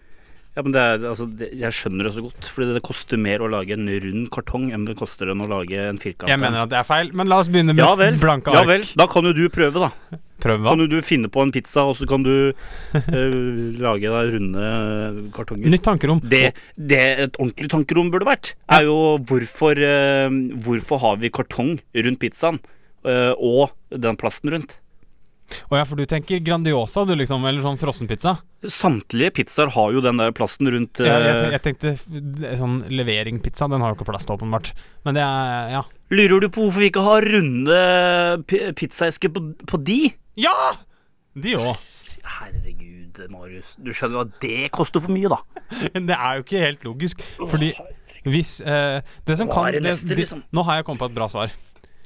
[SPEAKER 3] Ja, men det er, altså, det, jeg skjønner det så godt, fordi det koster mer å lage en rund kartong enn det koster enn å lage en firkant.
[SPEAKER 1] Jeg mener at det er feil, men la oss begynne med
[SPEAKER 3] ja vel,
[SPEAKER 1] blanke
[SPEAKER 3] ja
[SPEAKER 1] ark.
[SPEAKER 3] vel. Da kan jo du prøve, da.
[SPEAKER 1] Prøv, hva?
[SPEAKER 3] Kan jo du finne på en pizza, og så kan du eh, lage deg runde eh, kartonger.
[SPEAKER 1] Nytt tankerom.
[SPEAKER 3] det, det et ordentlig tankerom burde vært, er jo hvorfor, eh, hvorfor har vi kartong rundt pizzaen eh, og den plasten rundt?
[SPEAKER 1] Å ja, for du tenker Grandiosa, du, liksom? Eller sånn frossenpizza?
[SPEAKER 3] Samtlige pizzaer har jo den der plasten rundt
[SPEAKER 1] Jeg, jeg,
[SPEAKER 3] eh,
[SPEAKER 1] jeg tenkte f- sånn leveringpizza. Den har jo ikke plass til, åpenbart. Men det er Ja!
[SPEAKER 3] Lurer du på hvorfor vi ikke har runde pi- pizzaesker på, på de?
[SPEAKER 1] Ja! De òg.
[SPEAKER 3] Herregud, Marius. Du skjønner jo at det koster for mye, da.
[SPEAKER 1] Men det er jo ikke helt logisk, fordi hvis eh, Det som
[SPEAKER 3] Hva
[SPEAKER 1] kan
[SPEAKER 3] er det neste,
[SPEAKER 1] det,
[SPEAKER 3] liksom?
[SPEAKER 1] Nå har jeg kommet på et bra svar.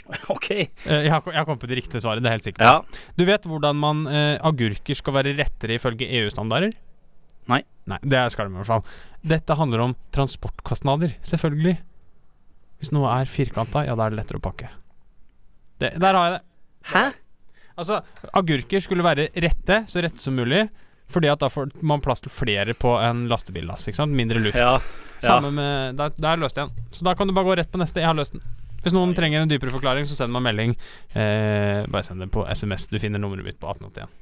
[SPEAKER 3] Ok.
[SPEAKER 1] Eh, jeg, har, jeg har kommet på det riktige svaret, det er jeg helt sikkert.
[SPEAKER 3] Ja.
[SPEAKER 1] Du vet hvordan man eh, agurker skal være rettere ifølge EU-standarder?
[SPEAKER 3] Nei.
[SPEAKER 1] Nei, Det skal de i hvert fall. Dette handler om transportkostnader, selvfølgelig. Hvis noe er firkanta, ja, da er det lettere å pakke. Det, der har jeg det.
[SPEAKER 3] Hæ?
[SPEAKER 1] Altså, agurker skulle være rette, så rette som mulig. Fordi at da får man plass til flere på en lastebillass. ikke sant? Mindre luft.
[SPEAKER 3] Ja. ja.
[SPEAKER 1] Samme med Der, der løste jeg den. Så da kan du bare gå rett på neste. Jeg har løst den. Hvis noen trenger en dypere forklaring, så send meg melding. Eh, bare send det på SMS. Du finner nummeret mitt på 1881.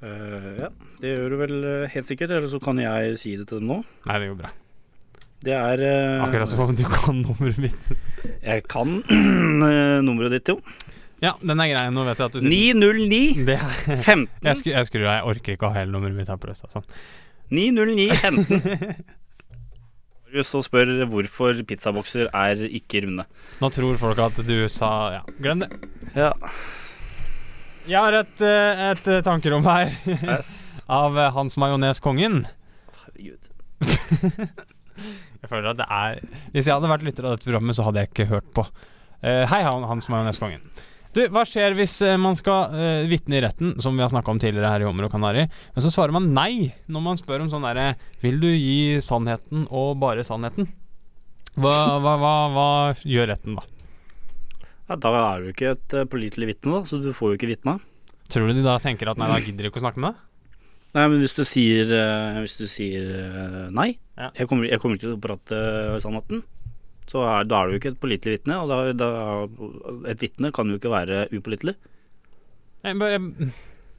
[SPEAKER 3] Eh, ja. Det gjør du vel eh, helt sikkert, eller så kan jeg si det til dem nå.
[SPEAKER 1] Nei, det går bra.
[SPEAKER 3] Det er eh,
[SPEAKER 1] Akkurat som om du kan nummeret mitt.
[SPEAKER 3] Jeg kan eh, nummeret ditt, jo.
[SPEAKER 1] Ja, den er grei. Nå vet jeg at du sitter-
[SPEAKER 3] 909
[SPEAKER 1] Det er,
[SPEAKER 3] 15.
[SPEAKER 1] jeg, skrur, jeg skrur av. Jeg orker ikke å ha hele nummeret mitt her på løsta. Sånn.
[SPEAKER 3] 909 15. oh Marius og spør hvorfor pizzabokser er ikke runde.
[SPEAKER 1] Nå tror folk at du sa Ja, glem det.
[SPEAKER 3] Ja.
[SPEAKER 1] Jeg har et, eh, et eh, tankerom her av eh, Hans Majones Kongen.
[SPEAKER 3] Herregud.
[SPEAKER 1] Jeg føler at det er Hvis jeg hadde vært lytter av dette programmet, så hadde jeg ikke hørt på. Eh, hei, han, Hans Majoneskongen. Du, hva skjer hvis eh, man skal uh, vitne i retten, som vi har snakka om tidligere her i Hummer og Kanari, men så svarer man nei når man spør om sånn derre Vil du gi sannheten og bare sannheten? Hva, hva, hva, hva gjør retten, da?
[SPEAKER 3] Ja, da er du ikke et eh, pålitelig vitne, da, så du får jo ikke vitna.
[SPEAKER 1] Tror du de da tenker at nei, da gidder de ikke å snakke med deg?
[SPEAKER 3] Nei, men hvis du sier, eh, hvis du sier eh, nei,
[SPEAKER 1] Ja.
[SPEAKER 3] jeg, kommer, jeg kommer ikke til å prate sannheten, så er, da er du ikke et pålitelig vitne. Og da, da, et vitne kan jo ikke være upålitelig.
[SPEAKER 1] Jeg bare jeg,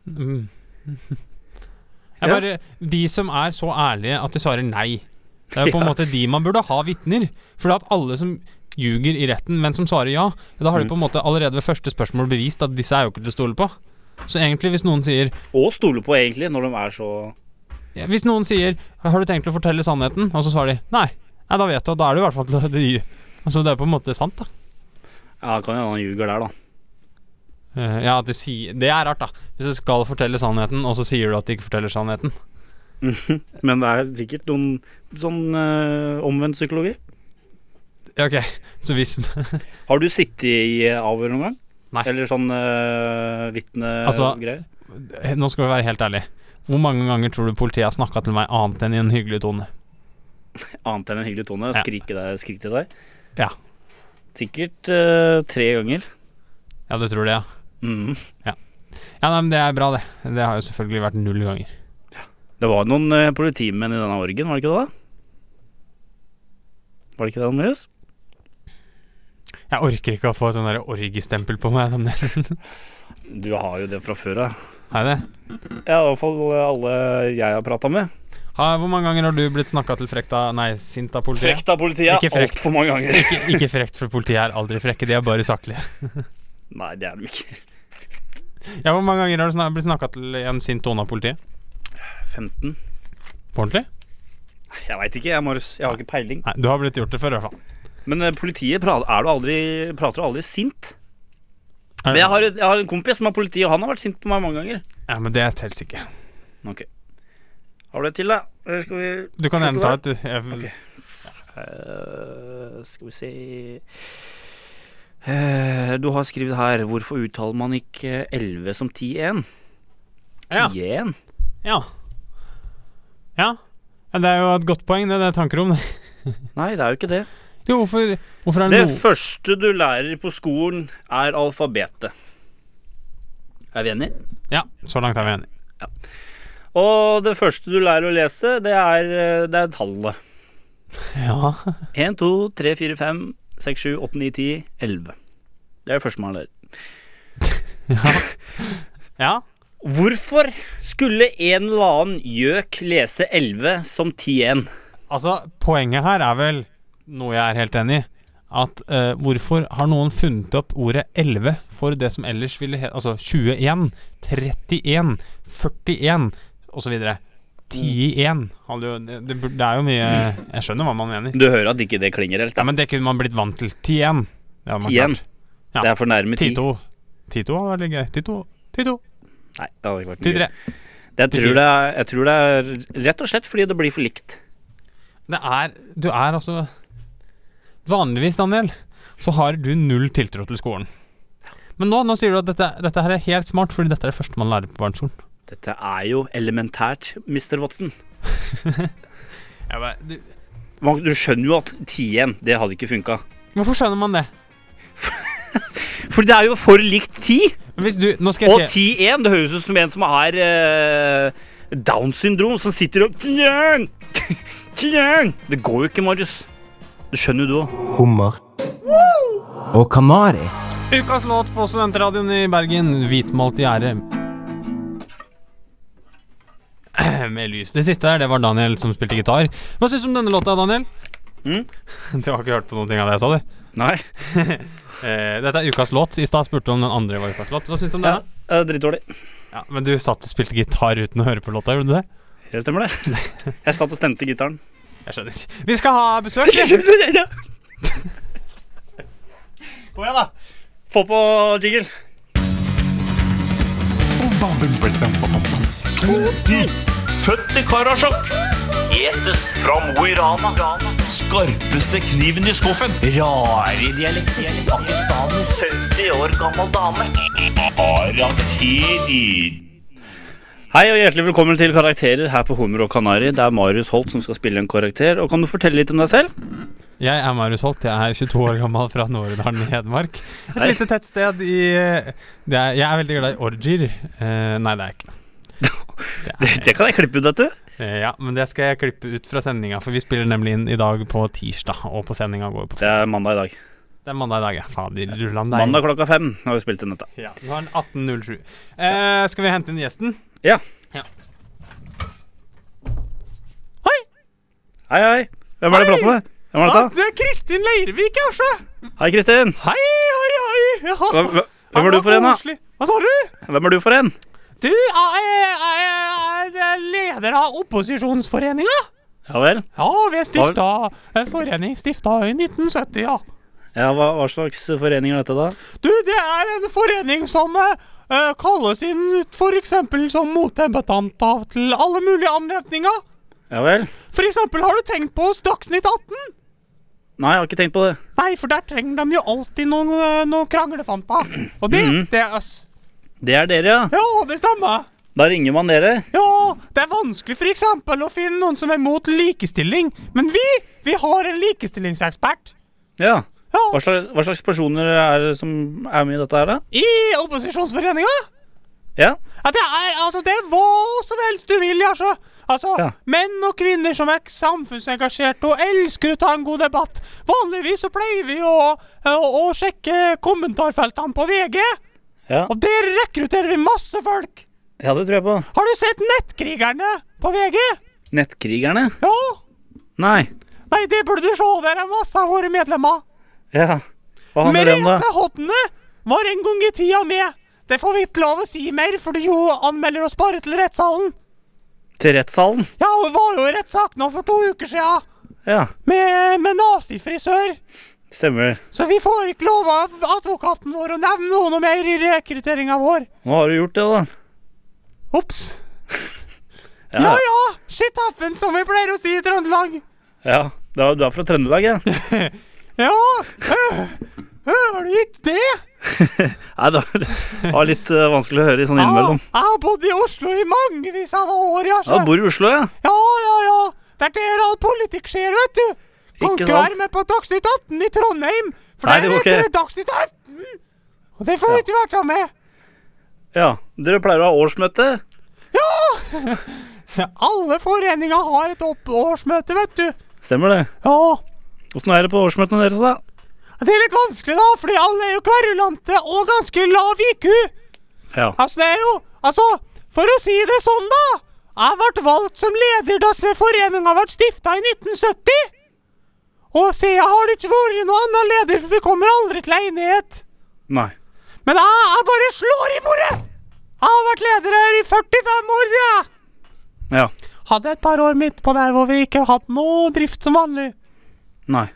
[SPEAKER 1] mm.
[SPEAKER 3] Ja.
[SPEAKER 1] jeg bare De som er så ærlige at de svarer nei, det er jo på en måte de man burde ha vitner. For at alle som ljuger i retten, men som svarer ja, da har de på en måte allerede ved første spørsmål bevist at disse er jo ikke til å stole på. Så egentlig, hvis noen sier
[SPEAKER 3] Og stole på, egentlig, når de er så
[SPEAKER 1] ja, Hvis noen sier 'Har du tenkt å fortelle sannheten?' og så svarer de 'Nei', nei da vet du, og da er det i hvert fall til å dy. Altså, det er på en måte sant, da.
[SPEAKER 3] Ja, det kan hende han ljuger der, da.
[SPEAKER 1] Eh, ja, at de sier Det er rart, da. Hvis du skal fortelle sannheten, og så sier du at de ikke forteller sannheten.
[SPEAKER 3] Men det er sikkert noen sånn eh, omvendt psykologi.
[SPEAKER 1] Ja, ok, så hvis
[SPEAKER 3] Har du sittet i eh, avhør noen gang?
[SPEAKER 1] Nei.
[SPEAKER 3] Eller sånn uh, vitnegreier?
[SPEAKER 1] Altså- Nå Eh, skal vi være helt ærlig Hvor mange ganger tror du politiet har snakka til meg annet enn i en hyggelig tone?
[SPEAKER 3] Annet enn en hyggelig tone.
[SPEAKER 1] Ja.
[SPEAKER 3] Skrik, deg, skrik til deg.
[SPEAKER 1] Ja.
[SPEAKER 3] Sikkert eh, tre ganger.
[SPEAKER 1] Ja, du tror det, ja.
[SPEAKER 3] Mhm.
[SPEAKER 1] Ja, nei, men Det er bra, det. Det har jo selvfølgelig vært null ganger.
[SPEAKER 3] Det var noen eh, politimenn i denne orgen, var det ikke det? da? Var det ikke det, Andreas?
[SPEAKER 1] Jeg orker ikke å få et sånn der orgiestempel på meg. Den der.
[SPEAKER 3] Du har jo det fra før av.
[SPEAKER 1] Har jeg det?
[SPEAKER 3] Ja, i hvert fall alle jeg har prata med.
[SPEAKER 1] Ha, hvor mange ganger har du blitt snakka til frekt av Nei, sint av politiet?
[SPEAKER 3] Frekt av politiet
[SPEAKER 1] Ikke frekt.
[SPEAKER 3] altfor mange ganger.
[SPEAKER 1] Ikke, ikke frekt, for politiet er aldri frekke. De er bare saklige.
[SPEAKER 3] Nei, det er de ikke.
[SPEAKER 1] Ja, Hvor mange ganger har du snak blitt snakka til i en sint tone av politiet?
[SPEAKER 3] 15?
[SPEAKER 1] På ordentlig?
[SPEAKER 3] Jeg veit ikke, jeg, Marius. Jeg har ikke peiling.
[SPEAKER 1] Nei, du har blitt gjort det før, i hvert fall.
[SPEAKER 3] Men eh, politiet prater, er du aldri, prater du aldri sint. Men jeg har, jeg har en kompis som er politi, og han har vært sint på meg mange ganger.
[SPEAKER 1] Ja, men det teller ikke.
[SPEAKER 3] Ok Har du et til, da? Eller skal vi
[SPEAKER 1] Du kan
[SPEAKER 3] Skal
[SPEAKER 1] gjerne
[SPEAKER 3] ikke
[SPEAKER 1] ta et, du. Jeg,
[SPEAKER 3] Eh, Skal vi se Eh, Du har skrevet her Hvorfor uttaler man ikke 11 som 10-1? 10-1?
[SPEAKER 1] Ja. Ja. Ja. Ja, Det er jo et godt poeng, det. Det er tanker om det.
[SPEAKER 3] Nei, det er jo ikke det.
[SPEAKER 1] Jo, hvorfor, hvorfor er det
[SPEAKER 3] Det
[SPEAKER 1] noe
[SPEAKER 3] første du lærer på skolen, er alfabetet. Er vi enige?
[SPEAKER 1] Ja, så langt er vi enige.
[SPEAKER 3] Og det første du lærer å lese, det er, eh, det er tallet.
[SPEAKER 1] Ja.
[SPEAKER 3] 1, 2, 3, 4, 5, 6, 7, 8, 9, 10, 11. Det er det første man lærer.
[SPEAKER 1] ja.
[SPEAKER 3] Hvorfor skulle en eller annen gjøk lese 11 som 10-1?
[SPEAKER 1] Altså, poenget her er vel noe jeg er helt enig i. At eh, hvorfor har noen funnet opp ordet 11 for det som ellers ville hete Altså 21, 31, 41 osv. 10 i 1. Det, det, bur- det er jo mye Jeg skjønner hva man mener.
[SPEAKER 3] Du hører at ikke det klinger helt.
[SPEAKER 1] Ja,
[SPEAKER 3] Da.
[SPEAKER 1] men det kunne man blitt vant til. 10-1. Det hadde man
[SPEAKER 3] 10-1.
[SPEAKER 1] klart. ja.
[SPEAKER 3] Det er for nærme 10.
[SPEAKER 1] 10-2. 10-2 var veldig gøy. 10-2. 10-2.
[SPEAKER 3] Nei, det hadde ikke vært mye.
[SPEAKER 1] 10-3.
[SPEAKER 3] Det- Jeg tror, det er, jeg tror det er rett og slett fordi det blir for likt.
[SPEAKER 1] Det er Du er altså Vanligvis, Daniel, så har du null tiltro til skolen. Men nå, nå sier du at dette, dette her er helt smart, fordi dette er det første man lærer på barneskolen.
[SPEAKER 3] Dette er jo elementært, Mr. Watson. Man- Du skjønner jo at 10-1, det hadde ikke funka.
[SPEAKER 1] Hvorfor skjønner man det?
[SPEAKER 3] For det er jo for likt 10!
[SPEAKER 1] Hvis du Nå skal
[SPEAKER 3] Og
[SPEAKER 1] jeg si
[SPEAKER 3] 10-1, det høres ut som en som har eh, Downs syndrom, som sitter og 10-1! 10-1! Det går jo ikke, Marius. Det skjønner jo du òg.
[SPEAKER 4] Hummer.
[SPEAKER 5] Og kanari.
[SPEAKER 1] Ukas låt på Studentradioen i Bergen, 'Hvitmalt gjerde'. Med lys. Det siste her, det var Daniel som spilte gitar. Hva syns du om denne låta, Daniel?
[SPEAKER 3] Mm?
[SPEAKER 1] Du har ikke hørt på noen ting av det jeg sa, du?
[SPEAKER 3] Nei.
[SPEAKER 1] Eh, dette er ukas låt. I stad spurte du om den andre var ukas låt. Hva syns du om
[SPEAKER 3] Ja,
[SPEAKER 1] den?
[SPEAKER 3] eh, Dritdårlig.
[SPEAKER 1] da? Ja, men du satt og spilte gitar uten å høre på låta, gjorde du det?
[SPEAKER 3] Det stemmer, det. Jeg satt og stemte gitaren.
[SPEAKER 1] Jeg skjønner. Vi skal ha besøk! vi.
[SPEAKER 3] Kom igjen, da. Få på jingle.
[SPEAKER 7] Født i Karasjok. Etes fra Mo i Rana. Skarpeste kniven i skuffen. Rare dialekter. Pakistaner. 70 år gammel dame. Arakiri.
[SPEAKER 3] Hei og hjertelig velkommen til Karakterer her på Hummer og Kanari. Det er Marius Holt som skal spille en karakter. Og kan du fortelle litt om deg selv?
[SPEAKER 1] Jeg er Marius Holt. Jeg er 22 år gammel fra Nord-Odalen i Hedmark. Et lite tettsted i eh, det er, Jeg er veldig glad i orgier. Eh, nei, det er jeg ikke.
[SPEAKER 3] Det, det kan jeg klippe ut, vet du.
[SPEAKER 1] Eh, ja, men det skal jeg klippe ut fra sendinga, for vi spiller nemlig inn i dag på tirsdag. Og på sendinga går på
[SPEAKER 3] Det er mandag i dag.
[SPEAKER 1] Det er mandag i dag, ja. Fader, rullan deg.
[SPEAKER 3] Mandag klokka fem har vi spilt inn dette.
[SPEAKER 1] Ja, nå er den 18.07. Eh, skal vi hente inn gjesten?
[SPEAKER 3] Ja.
[SPEAKER 1] Ja.
[SPEAKER 3] Hei, hei. Hvem er det jeg prater med? Hvem
[SPEAKER 1] Ja,
[SPEAKER 3] er dette?
[SPEAKER 1] Ah, det er Kristin Leirvik, altså!
[SPEAKER 3] Hei, Kristin.
[SPEAKER 1] Hei, hei, hei! Ja.
[SPEAKER 3] Hvem, hvem- hvem er du for en, da?
[SPEAKER 1] Koselig. Hva sa du?
[SPEAKER 3] Hvem er du for en?
[SPEAKER 1] Du er, er, er, er leder av opposisjonsforeninga.
[SPEAKER 3] Ja vel.
[SPEAKER 1] Ja, vi er stifta en forening stifta i 1970, ja.
[SPEAKER 3] Ja, hva, hva slags forening er dette, da?
[SPEAKER 1] Du, det er en forening som eh, eh, kalles inn for eksempel som motembetant av til alle mulige anledninger.
[SPEAKER 3] Ja vel.
[SPEAKER 1] For eksempel har du tenkt på oss Dagsnytt 18?
[SPEAKER 3] Nei, jeg har ikke tenkt på det.
[SPEAKER 1] Nei, for der trenger de jo alltid noen, eh, noen kranglefamper. Og det, det er oss.
[SPEAKER 3] Det er dere, ja.
[SPEAKER 1] Ja, det stemmer.
[SPEAKER 3] Da ringer man dere.
[SPEAKER 1] Ja, det er vanskelig for eksempel å finne noen som er mot likestilling, men vi, vi har en likestillingsekspert.
[SPEAKER 3] Ja.
[SPEAKER 1] Ja,
[SPEAKER 3] Hva slags, hva slags personer er det som er med i dette her, da?
[SPEAKER 1] i opposisjonsforeninga.
[SPEAKER 3] Ja.
[SPEAKER 1] At det er, altså, det er hva som helst du vil, altså. Altså,
[SPEAKER 3] Ja.
[SPEAKER 1] Menn og kvinner som er samfunnsengasjerte og elsker å ta en god debatt. Vanligvis så pleier vi å, å, å sjekke kommentarfeltene på VG,
[SPEAKER 3] Ja.
[SPEAKER 1] og der rekrutterer vi masse folk.
[SPEAKER 3] ja, det tror jeg på.
[SPEAKER 1] Har du sett Nettkrigerne på VG?
[SPEAKER 3] Nettkrigerne?
[SPEAKER 1] Ja.
[SPEAKER 3] Nei.
[SPEAKER 1] Nei, det burde du se. Der er masse av våre medlemmer.
[SPEAKER 3] Ja. Hva handler det om, da?
[SPEAKER 1] Merete Hodne var en gang i tida med. Det får vi ikke lov å si mer, fordi hun anmelder oss bare til rettssalen.
[SPEAKER 3] Til rettssalen?
[SPEAKER 1] Ja, hun var jo i rettssak nå for to uker sia.
[SPEAKER 3] Ja,
[SPEAKER 1] Med, med nazifrisør.
[SPEAKER 3] stemmer.
[SPEAKER 1] Så vi får ikke lov av advokaten vår å nevne noe noe mer i rekrutteringa vår.
[SPEAKER 3] Nå har du gjort det, da.
[SPEAKER 1] Ops. Ja ja, shit happens, som vi pleier å si i Trøndelag.
[SPEAKER 3] ja. Du er- Du er fra Trøndelag, ja?
[SPEAKER 1] Ja, øh, hører du ikke det?
[SPEAKER 3] Nei, det var- det var litt eh, vanskelig å høre i
[SPEAKER 1] Ah,
[SPEAKER 3] sånn innimellom.
[SPEAKER 1] Ja, jeg har bodd i Oslo i mangevis av år, ja.
[SPEAKER 3] Ja, du bor i Oslo, ja?
[SPEAKER 1] Ja, ja, ja. Det er der all politikk skjer, vet du. Kan
[SPEAKER 3] Ikke
[SPEAKER 1] ikke være
[SPEAKER 3] sant?
[SPEAKER 1] med på Dagsnytt 18 i Trondheim, for
[SPEAKER 3] Nei,
[SPEAKER 1] der
[SPEAKER 3] det var
[SPEAKER 1] heter
[SPEAKER 3] ikke-
[SPEAKER 1] det Dagsnytt 18. Og det får du ikke vært med.
[SPEAKER 3] Ja. Dere pleier å ha årsmøte?
[SPEAKER 1] Alle foreninger har et opp- årsmøte, vet du.
[SPEAKER 3] Stemmer det.
[SPEAKER 1] Ja.
[SPEAKER 3] Åssen er det på årsmøtene deres, da?
[SPEAKER 1] Det er litt vanskelig, da, fordi alle er jo kverulante og ganske lav IQ.
[SPEAKER 3] Ja.
[SPEAKER 1] Altså, det er jo Altså, for å si det sånn, da. Jeg ble valgt som leder da se- foreninga ble stifta i 1970. Og siden har det ikke vært noen annen leder, for vi kommer aldri til enighet.
[SPEAKER 3] Nei.
[SPEAKER 1] Men jeg, jeg bare slår i bordet! Jeg har vært leder her i 45 år, sier jeg.
[SPEAKER 3] Ja.
[SPEAKER 1] Hadde et par år midt på der hvor vi ikke har hatt noe drift som vanlig.
[SPEAKER 3] Nei.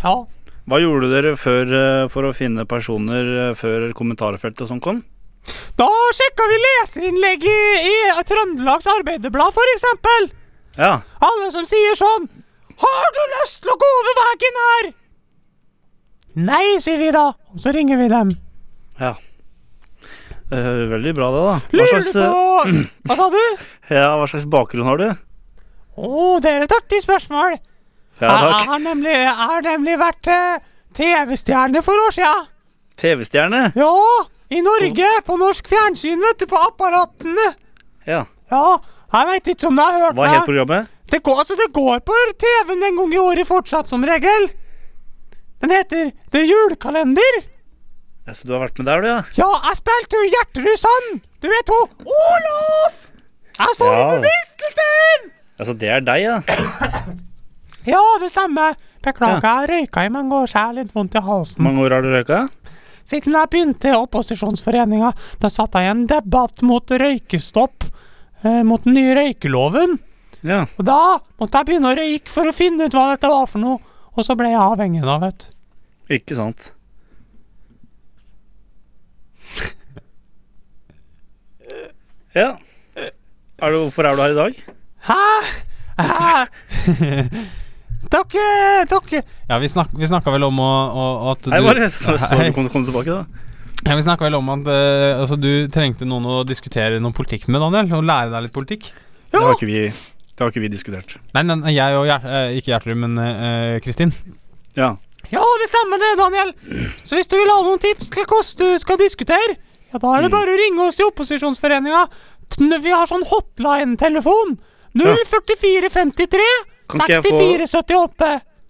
[SPEAKER 1] Ja.
[SPEAKER 3] Hva gjorde dere før eh, for å finne personer eh, før kommentarfeltet som kom?
[SPEAKER 1] Da sjekka vi leserinnlegg i, i Trøndelags Arbeiderblad, for eksempel.
[SPEAKER 3] Ja.
[SPEAKER 1] Alle som sier sånn Har du lyst til å gå over veggen her? Nei, sier vi da. Og så ringer vi dem.
[SPEAKER 3] ja. Eh, veldig bra, det, da. Hva
[SPEAKER 1] Lurer du
[SPEAKER 3] slags,
[SPEAKER 1] på
[SPEAKER 3] eh,
[SPEAKER 1] Hva sa du?
[SPEAKER 3] ja, hva slags bakgrunn har du?
[SPEAKER 1] Å, det er et artig spørsmål. jeg,
[SPEAKER 3] Ja,
[SPEAKER 1] jeg,
[SPEAKER 3] takk.
[SPEAKER 1] har nemlig, jeg har nemlig vært eh, TV-stjerne for år sia.
[SPEAKER 3] TV-stjerne?
[SPEAKER 1] Ja, i Norge. På norsk fjernsyn, vet du. På apparatene.
[SPEAKER 3] Ja.
[SPEAKER 1] Ja, jeg veit ikke om du har hørt
[SPEAKER 3] Hva het
[SPEAKER 1] meg.
[SPEAKER 3] programmet?
[SPEAKER 1] Det går, altså, det går på TV-en en gang i året fortsatt, som regel. Den heter The Julekalender.
[SPEAKER 3] Ja, så du har vært med der, du, ja?
[SPEAKER 1] Ja, jeg spilte jo Gjertrud Sand. Du vet hun Olof! Jeg står
[SPEAKER 3] Ja.
[SPEAKER 1] ja. på mistelteinen!
[SPEAKER 3] Altså, det er deg, ja?
[SPEAKER 1] Ja, det stemmer. Beklager, jeg røyka i mange år, så jeg har litt vondt i
[SPEAKER 3] Hvor
[SPEAKER 1] halsen.
[SPEAKER 3] mange år har du røyka?
[SPEAKER 1] Siden jeg begynte i opposisjonsforeninga, da satte jeg i en debatt mot røykestopp. Eh, mot den nye røykeloven.
[SPEAKER 3] Ja.
[SPEAKER 1] Og da måtte jeg begynne å røyke for å finne ut hva dette var for noe. Og så ble jeg avhengig da, vet du.
[SPEAKER 3] Ikke sant. Ja. Er du, hvorfor er du her i dag?
[SPEAKER 1] Hæ? Hæ? dere, dere Ja, vi, snak, vi snakka vel om å, å- at
[SPEAKER 3] Hei,
[SPEAKER 1] du-
[SPEAKER 3] Marius. Så, så
[SPEAKER 1] Hei.
[SPEAKER 3] du kom, kom tilbake, da.
[SPEAKER 1] Ja, Vi snakka vel om at eh, altså, du trengte noen å diskutere noe politikk med, Daniel. Og lære deg litt politikk.
[SPEAKER 3] Det har ikke vi, det har ikke vi diskutert.
[SPEAKER 1] Nei, nei, nei, jeg og Gjer- eh, ikke Gjertrud, men eh, Kristin.
[SPEAKER 3] Ja.
[SPEAKER 1] Ja, det stemmer det, Daniel. Så hvis du vil ha noen tips til hvordan du skal diskutere, ja, da er det bare å ringe oss i opposisjonsforeninga. T- Vi har sånn hotline-telefon. 04453
[SPEAKER 3] Kan ikke jeg få-
[SPEAKER 1] 6478.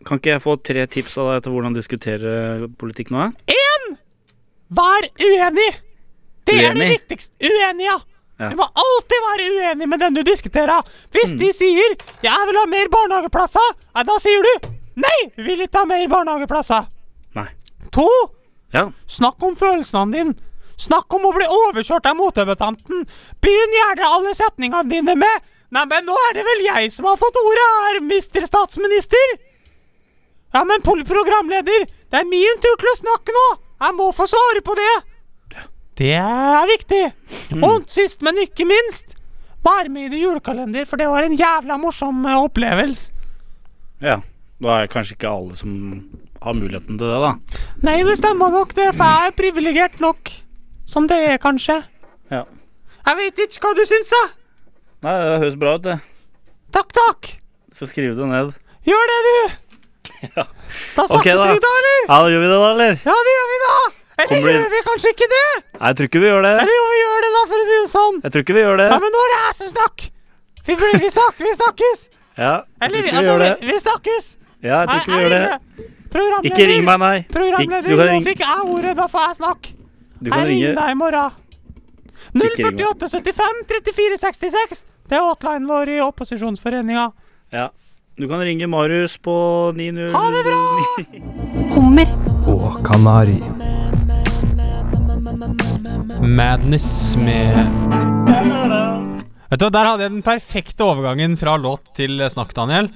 [SPEAKER 3] Kan ikke jeg få tre tips av deg til hvordan diskutere politikk nå? da?
[SPEAKER 1] Vær uenig! Det er det
[SPEAKER 3] Uenig?
[SPEAKER 1] viktigste. Uenig, ja.
[SPEAKER 3] Ja. Mm.
[SPEAKER 1] Du må alltid være uenig med den du diskuterer. Hvis de sier 'jeg vil ha mer barnehageplasser', ja, da sier du 'nei, vi vil ikke ha mer barnehageplasser'.
[SPEAKER 3] Nei.
[SPEAKER 1] To,
[SPEAKER 3] Ja.
[SPEAKER 1] snakk om følelsene dine. Snakk om å bli overkjørt av motdebattanten. Begynn gjerne alle setningene dine med 'nei, men nå er det vel jeg som har fått ordet her, mister statsminister'. Ja, men pol- programleder, det er min tur til å snakke nå! Jeg må få svare på det! Det er viktig. Og sist, men ikke minst, vær med i det julekalender, for det var en jævla morsom eh, opplevelse.
[SPEAKER 3] ja. Da er kanskje ikke alle som har muligheten til det, da.
[SPEAKER 1] Nei, det stemmer nok, det, for jeg er privilegert nok. Som det er, kanskje.
[SPEAKER 3] Ja.
[SPEAKER 1] Jeg vet ikke hva du syns, da.
[SPEAKER 3] Nei, det høres bra ut, det.
[SPEAKER 1] Takk, takk.
[SPEAKER 3] Så skriv det ned.
[SPEAKER 1] Gjør det, du.
[SPEAKER 3] Ja.
[SPEAKER 1] Da snakkes
[SPEAKER 3] Ok, da.
[SPEAKER 1] vi, da, eller?
[SPEAKER 3] Ja, da gjør vi det, da, eller?
[SPEAKER 1] Ja, det gjør vi, da. Eller
[SPEAKER 3] Kommer det-
[SPEAKER 1] gjør vi kanskje ikke det?
[SPEAKER 3] Nei, jeg tror ikke vi gjør det.
[SPEAKER 1] Eller jo, vi gjør det, da, for å si det sånn.
[SPEAKER 3] Jeg tror ikke vi gjør det.
[SPEAKER 1] Ja, men nå er det jeg som snakker. Vi, blir- vi snakker, vi snakkes.
[SPEAKER 3] Ja, jeg
[SPEAKER 1] Eller
[SPEAKER 3] tror
[SPEAKER 1] vi,
[SPEAKER 3] ikke vi
[SPEAKER 1] altså,
[SPEAKER 3] gjør
[SPEAKER 1] vi,
[SPEAKER 3] det.
[SPEAKER 1] vi snakkes.
[SPEAKER 3] Ja, jeg tror ikke vi gjør det.
[SPEAKER 1] Programleder.
[SPEAKER 3] Ikke ring meg, nei. Ikk-
[SPEAKER 1] Programleder,
[SPEAKER 3] Du kan
[SPEAKER 1] nå
[SPEAKER 3] ringe.
[SPEAKER 1] fikk jeg ordet, da får jeg snakke.
[SPEAKER 3] Du
[SPEAKER 1] Jeg
[SPEAKER 3] kan
[SPEAKER 1] ringer
[SPEAKER 3] ringe.
[SPEAKER 1] deg i morgen.
[SPEAKER 3] Ikke ring meg.
[SPEAKER 1] 048 75 34 66. Det er hotlinen vår i opposisjonsforeninga.
[SPEAKER 3] Ja. Du kan ringe Marius på 90...
[SPEAKER 1] Ha det bra!
[SPEAKER 8] Hummer.
[SPEAKER 4] og kanari.
[SPEAKER 1] Madness med Vet du, hva, Der hadde jeg den perfekte overgangen fra låt til snakk, Daniel.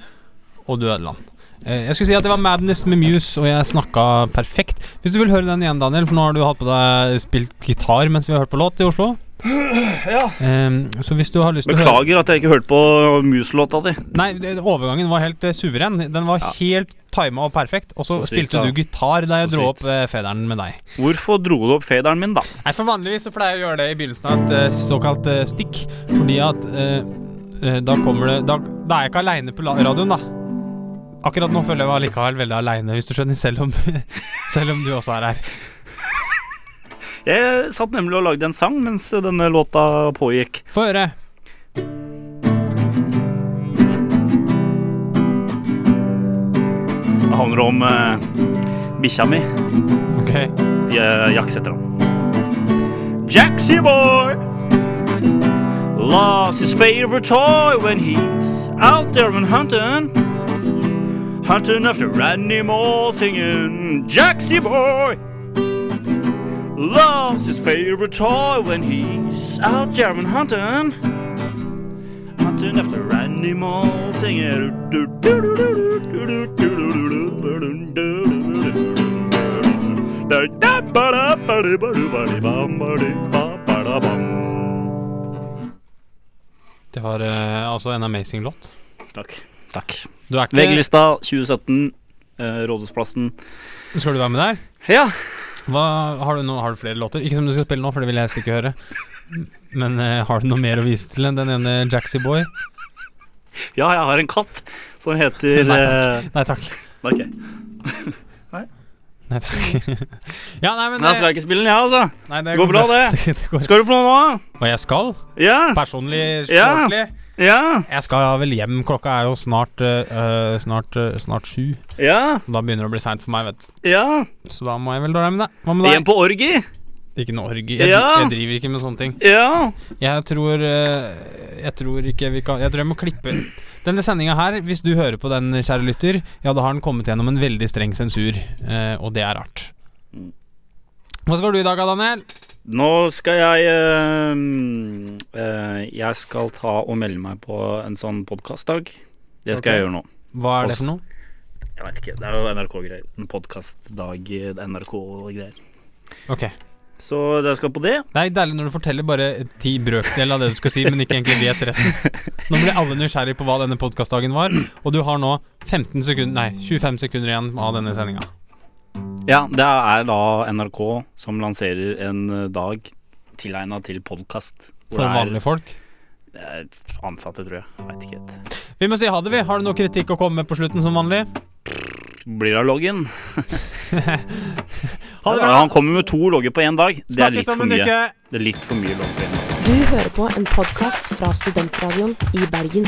[SPEAKER 1] Og du ødela den. Eh, Jeg skulle si at det var Madness med Muse, og jeg snakka perfekt. Hvis du vil høre den igjen, Daniel, for nå har du hatt på deg spilt gitar mens vi har hørt på låt i Oslo.
[SPEAKER 3] Ja.
[SPEAKER 1] Em, så hvis du har lyst til å høre
[SPEAKER 3] Beklager at jeg ikke hørte på Mus-låta di.
[SPEAKER 1] Nei, det- overgangen var helt eh, suveren. Den var
[SPEAKER 3] Ja.
[SPEAKER 1] helt tima og perfekt. Og så
[SPEAKER 3] Så sykt,
[SPEAKER 1] spilte
[SPEAKER 3] da.
[SPEAKER 1] du gitar da jeg
[SPEAKER 3] Så
[SPEAKER 1] dro
[SPEAKER 3] sykt.
[SPEAKER 1] opp eh, federen med deg.
[SPEAKER 3] Hvorfor dro du opp faderen min, da?
[SPEAKER 1] Nei, for Vanligvis så pleier jeg å gjøre det i begynnelsen av et eh, såkalt eh, stikk. Fordi at eh, eh, da kommer det Da, da er jeg ikke aleine på la- radioen, da. Akkurat nå føler jeg meg allikevel veldig aleine, hvis du skjønner, selv om du, selv om du også er her.
[SPEAKER 3] Jeg satt nemlig og lagde en sang mens denne låta pågikk.
[SPEAKER 1] Få høre.
[SPEAKER 3] Det handler om eh, bikkja mi.
[SPEAKER 1] Ok.
[SPEAKER 3] Ja, Jax heter han. Jaxy boy lost his favorite toy when he's out there and hunting. Hunting after animals singing. Jaxy boy lost his favorite toy when he's out there and hunting. Hunting after animals singing.
[SPEAKER 1] Det var eh, altså en amazing låt.
[SPEAKER 3] Takk. Takk.
[SPEAKER 1] Du er ikke
[SPEAKER 3] VG-lista 2017, eh, Rådhusplassen.
[SPEAKER 1] Skal du være med der?
[SPEAKER 3] Ja,
[SPEAKER 1] Hva, har, du noe- har du flere låter? Ikke som du skal spille nå, for det vil jeg helst ikke høre. Men eh, har du noe mer å vise til enn den ene Jaxie Boy?
[SPEAKER 3] ja jeg har en katt som heter
[SPEAKER 1] Nei,
[SPEAKER 3] eh,
[SPEAKER 1] Nei takk.
[SPEAKER 3] Ok.
[SPEAKER 1] Nei takk. ja, nei, men eh,
[SPEAKER 3] Nei, skal jeg ikke spille den, jeg, altså.
[SPEAKER 1] Nei,
[SPEAKER 3] Det går bra, det.
[SPEAKER 1] det går.
[SPEAKER 3] Skal du på noe nå?
[SPEAKER 1] Og jeg skal?
[SPEAKER 3] Ja,
[SPEAKER 1] Personlig,
[SPEAKER 3] Ja.
[SPEAKER 1] språklig?
[SPEAKER 3] ja,
[SPEAKER 1] Jeg skal vel hjem. Klokka er jo snart øh, Snart øh, Snart sju.
[SPEAKER 3] ja,
[SPEAKER 1] Da begynner det å bli seint for meg, vet du.
[SPEAKER 3] ja.
[SPEAKER 1] Så da må jeg vel dra hjem, da. Hva med
[SPEAKER 3] En
[SPEAKER 1] deg?
[SPEAKER 3] på orgi?
[SPEAKER 1] Ikke noe orgie. Jeg,
[SPEAKER 3] Ja.
[SPEAKER 1] jeg driver ikke med sånne ting.
[SPEAKER 3] Ja.
[SPEAKER 1] Jeg tror øh, Jeg tror ikke vi kan Jeg tror jeg må klippe Denne sendinga her, hvis du hører på den, kjære lytter, ja, da har den kommet gjennom en veldig streng sensur, eh, og det er rart.
[SPEAKER 3] Mm.
[SPEAKER 1] Hva skal du i dag, Daniel?
[SPEAKER 3] Nå skal jeg eh, mm, eh, Jeg skal ta og melde meg på en sånn podkastdag. Det skal jeg
[SPEAKER 1] Ok.
[SPEAKER 3] gjøre nå.
[SPEAKER 1] Hva er det for noe?
[SPEAKER 3] Jeg vet ikke, Det er jo NRK-greier. En podkastdag, NRK-greier.
[SPEAKER 1] Ok.
[SPEAKER 3] Så jeg skal på det.
[SPEAKER 1] Det er deilig når du forteller bare ti brøkdeler av det du skal si, men ikke egentlig vet resten. Nå ble alle nysgjerrig på hva denne podkastdagen var, og du har nå 15 sekunder, nei, 25 sekunder igjen av denne sendinga.
[SPEAKER 3] Ja, det er da NRK som lanserer en eh, dag tilegna til podkast.
[SPEAKER 1] For vanlige folk.
[SPEAKER 3] eh, Ansatte, tror jeg. jeg. Vet ikke helt.
[SPEAKER 1] Vi må si ha det, vi. Har du noe kritikk å komme med på slutten, som vanlig?
[SPEAKER 3] Blir det av loggen?
[SPEAKER 1] Ha det
[SPEAKER 3] Ja,
[SPEAKER 1] bra.
[SPEAKER 3] han kommer med to logger på én dag. Det er litt
[SPEAKER 1] Snakkes om
[SPEAKER 3] for
[SPEAKER 1] en
[SPEAKER 3] mye.
[SPEAKER 1] uke.
[SPEAKER 3] Det er litt for mye logger på en dag.
[SPEAKER 8] Du hører på en podkast fra Studentradioen i Bergen.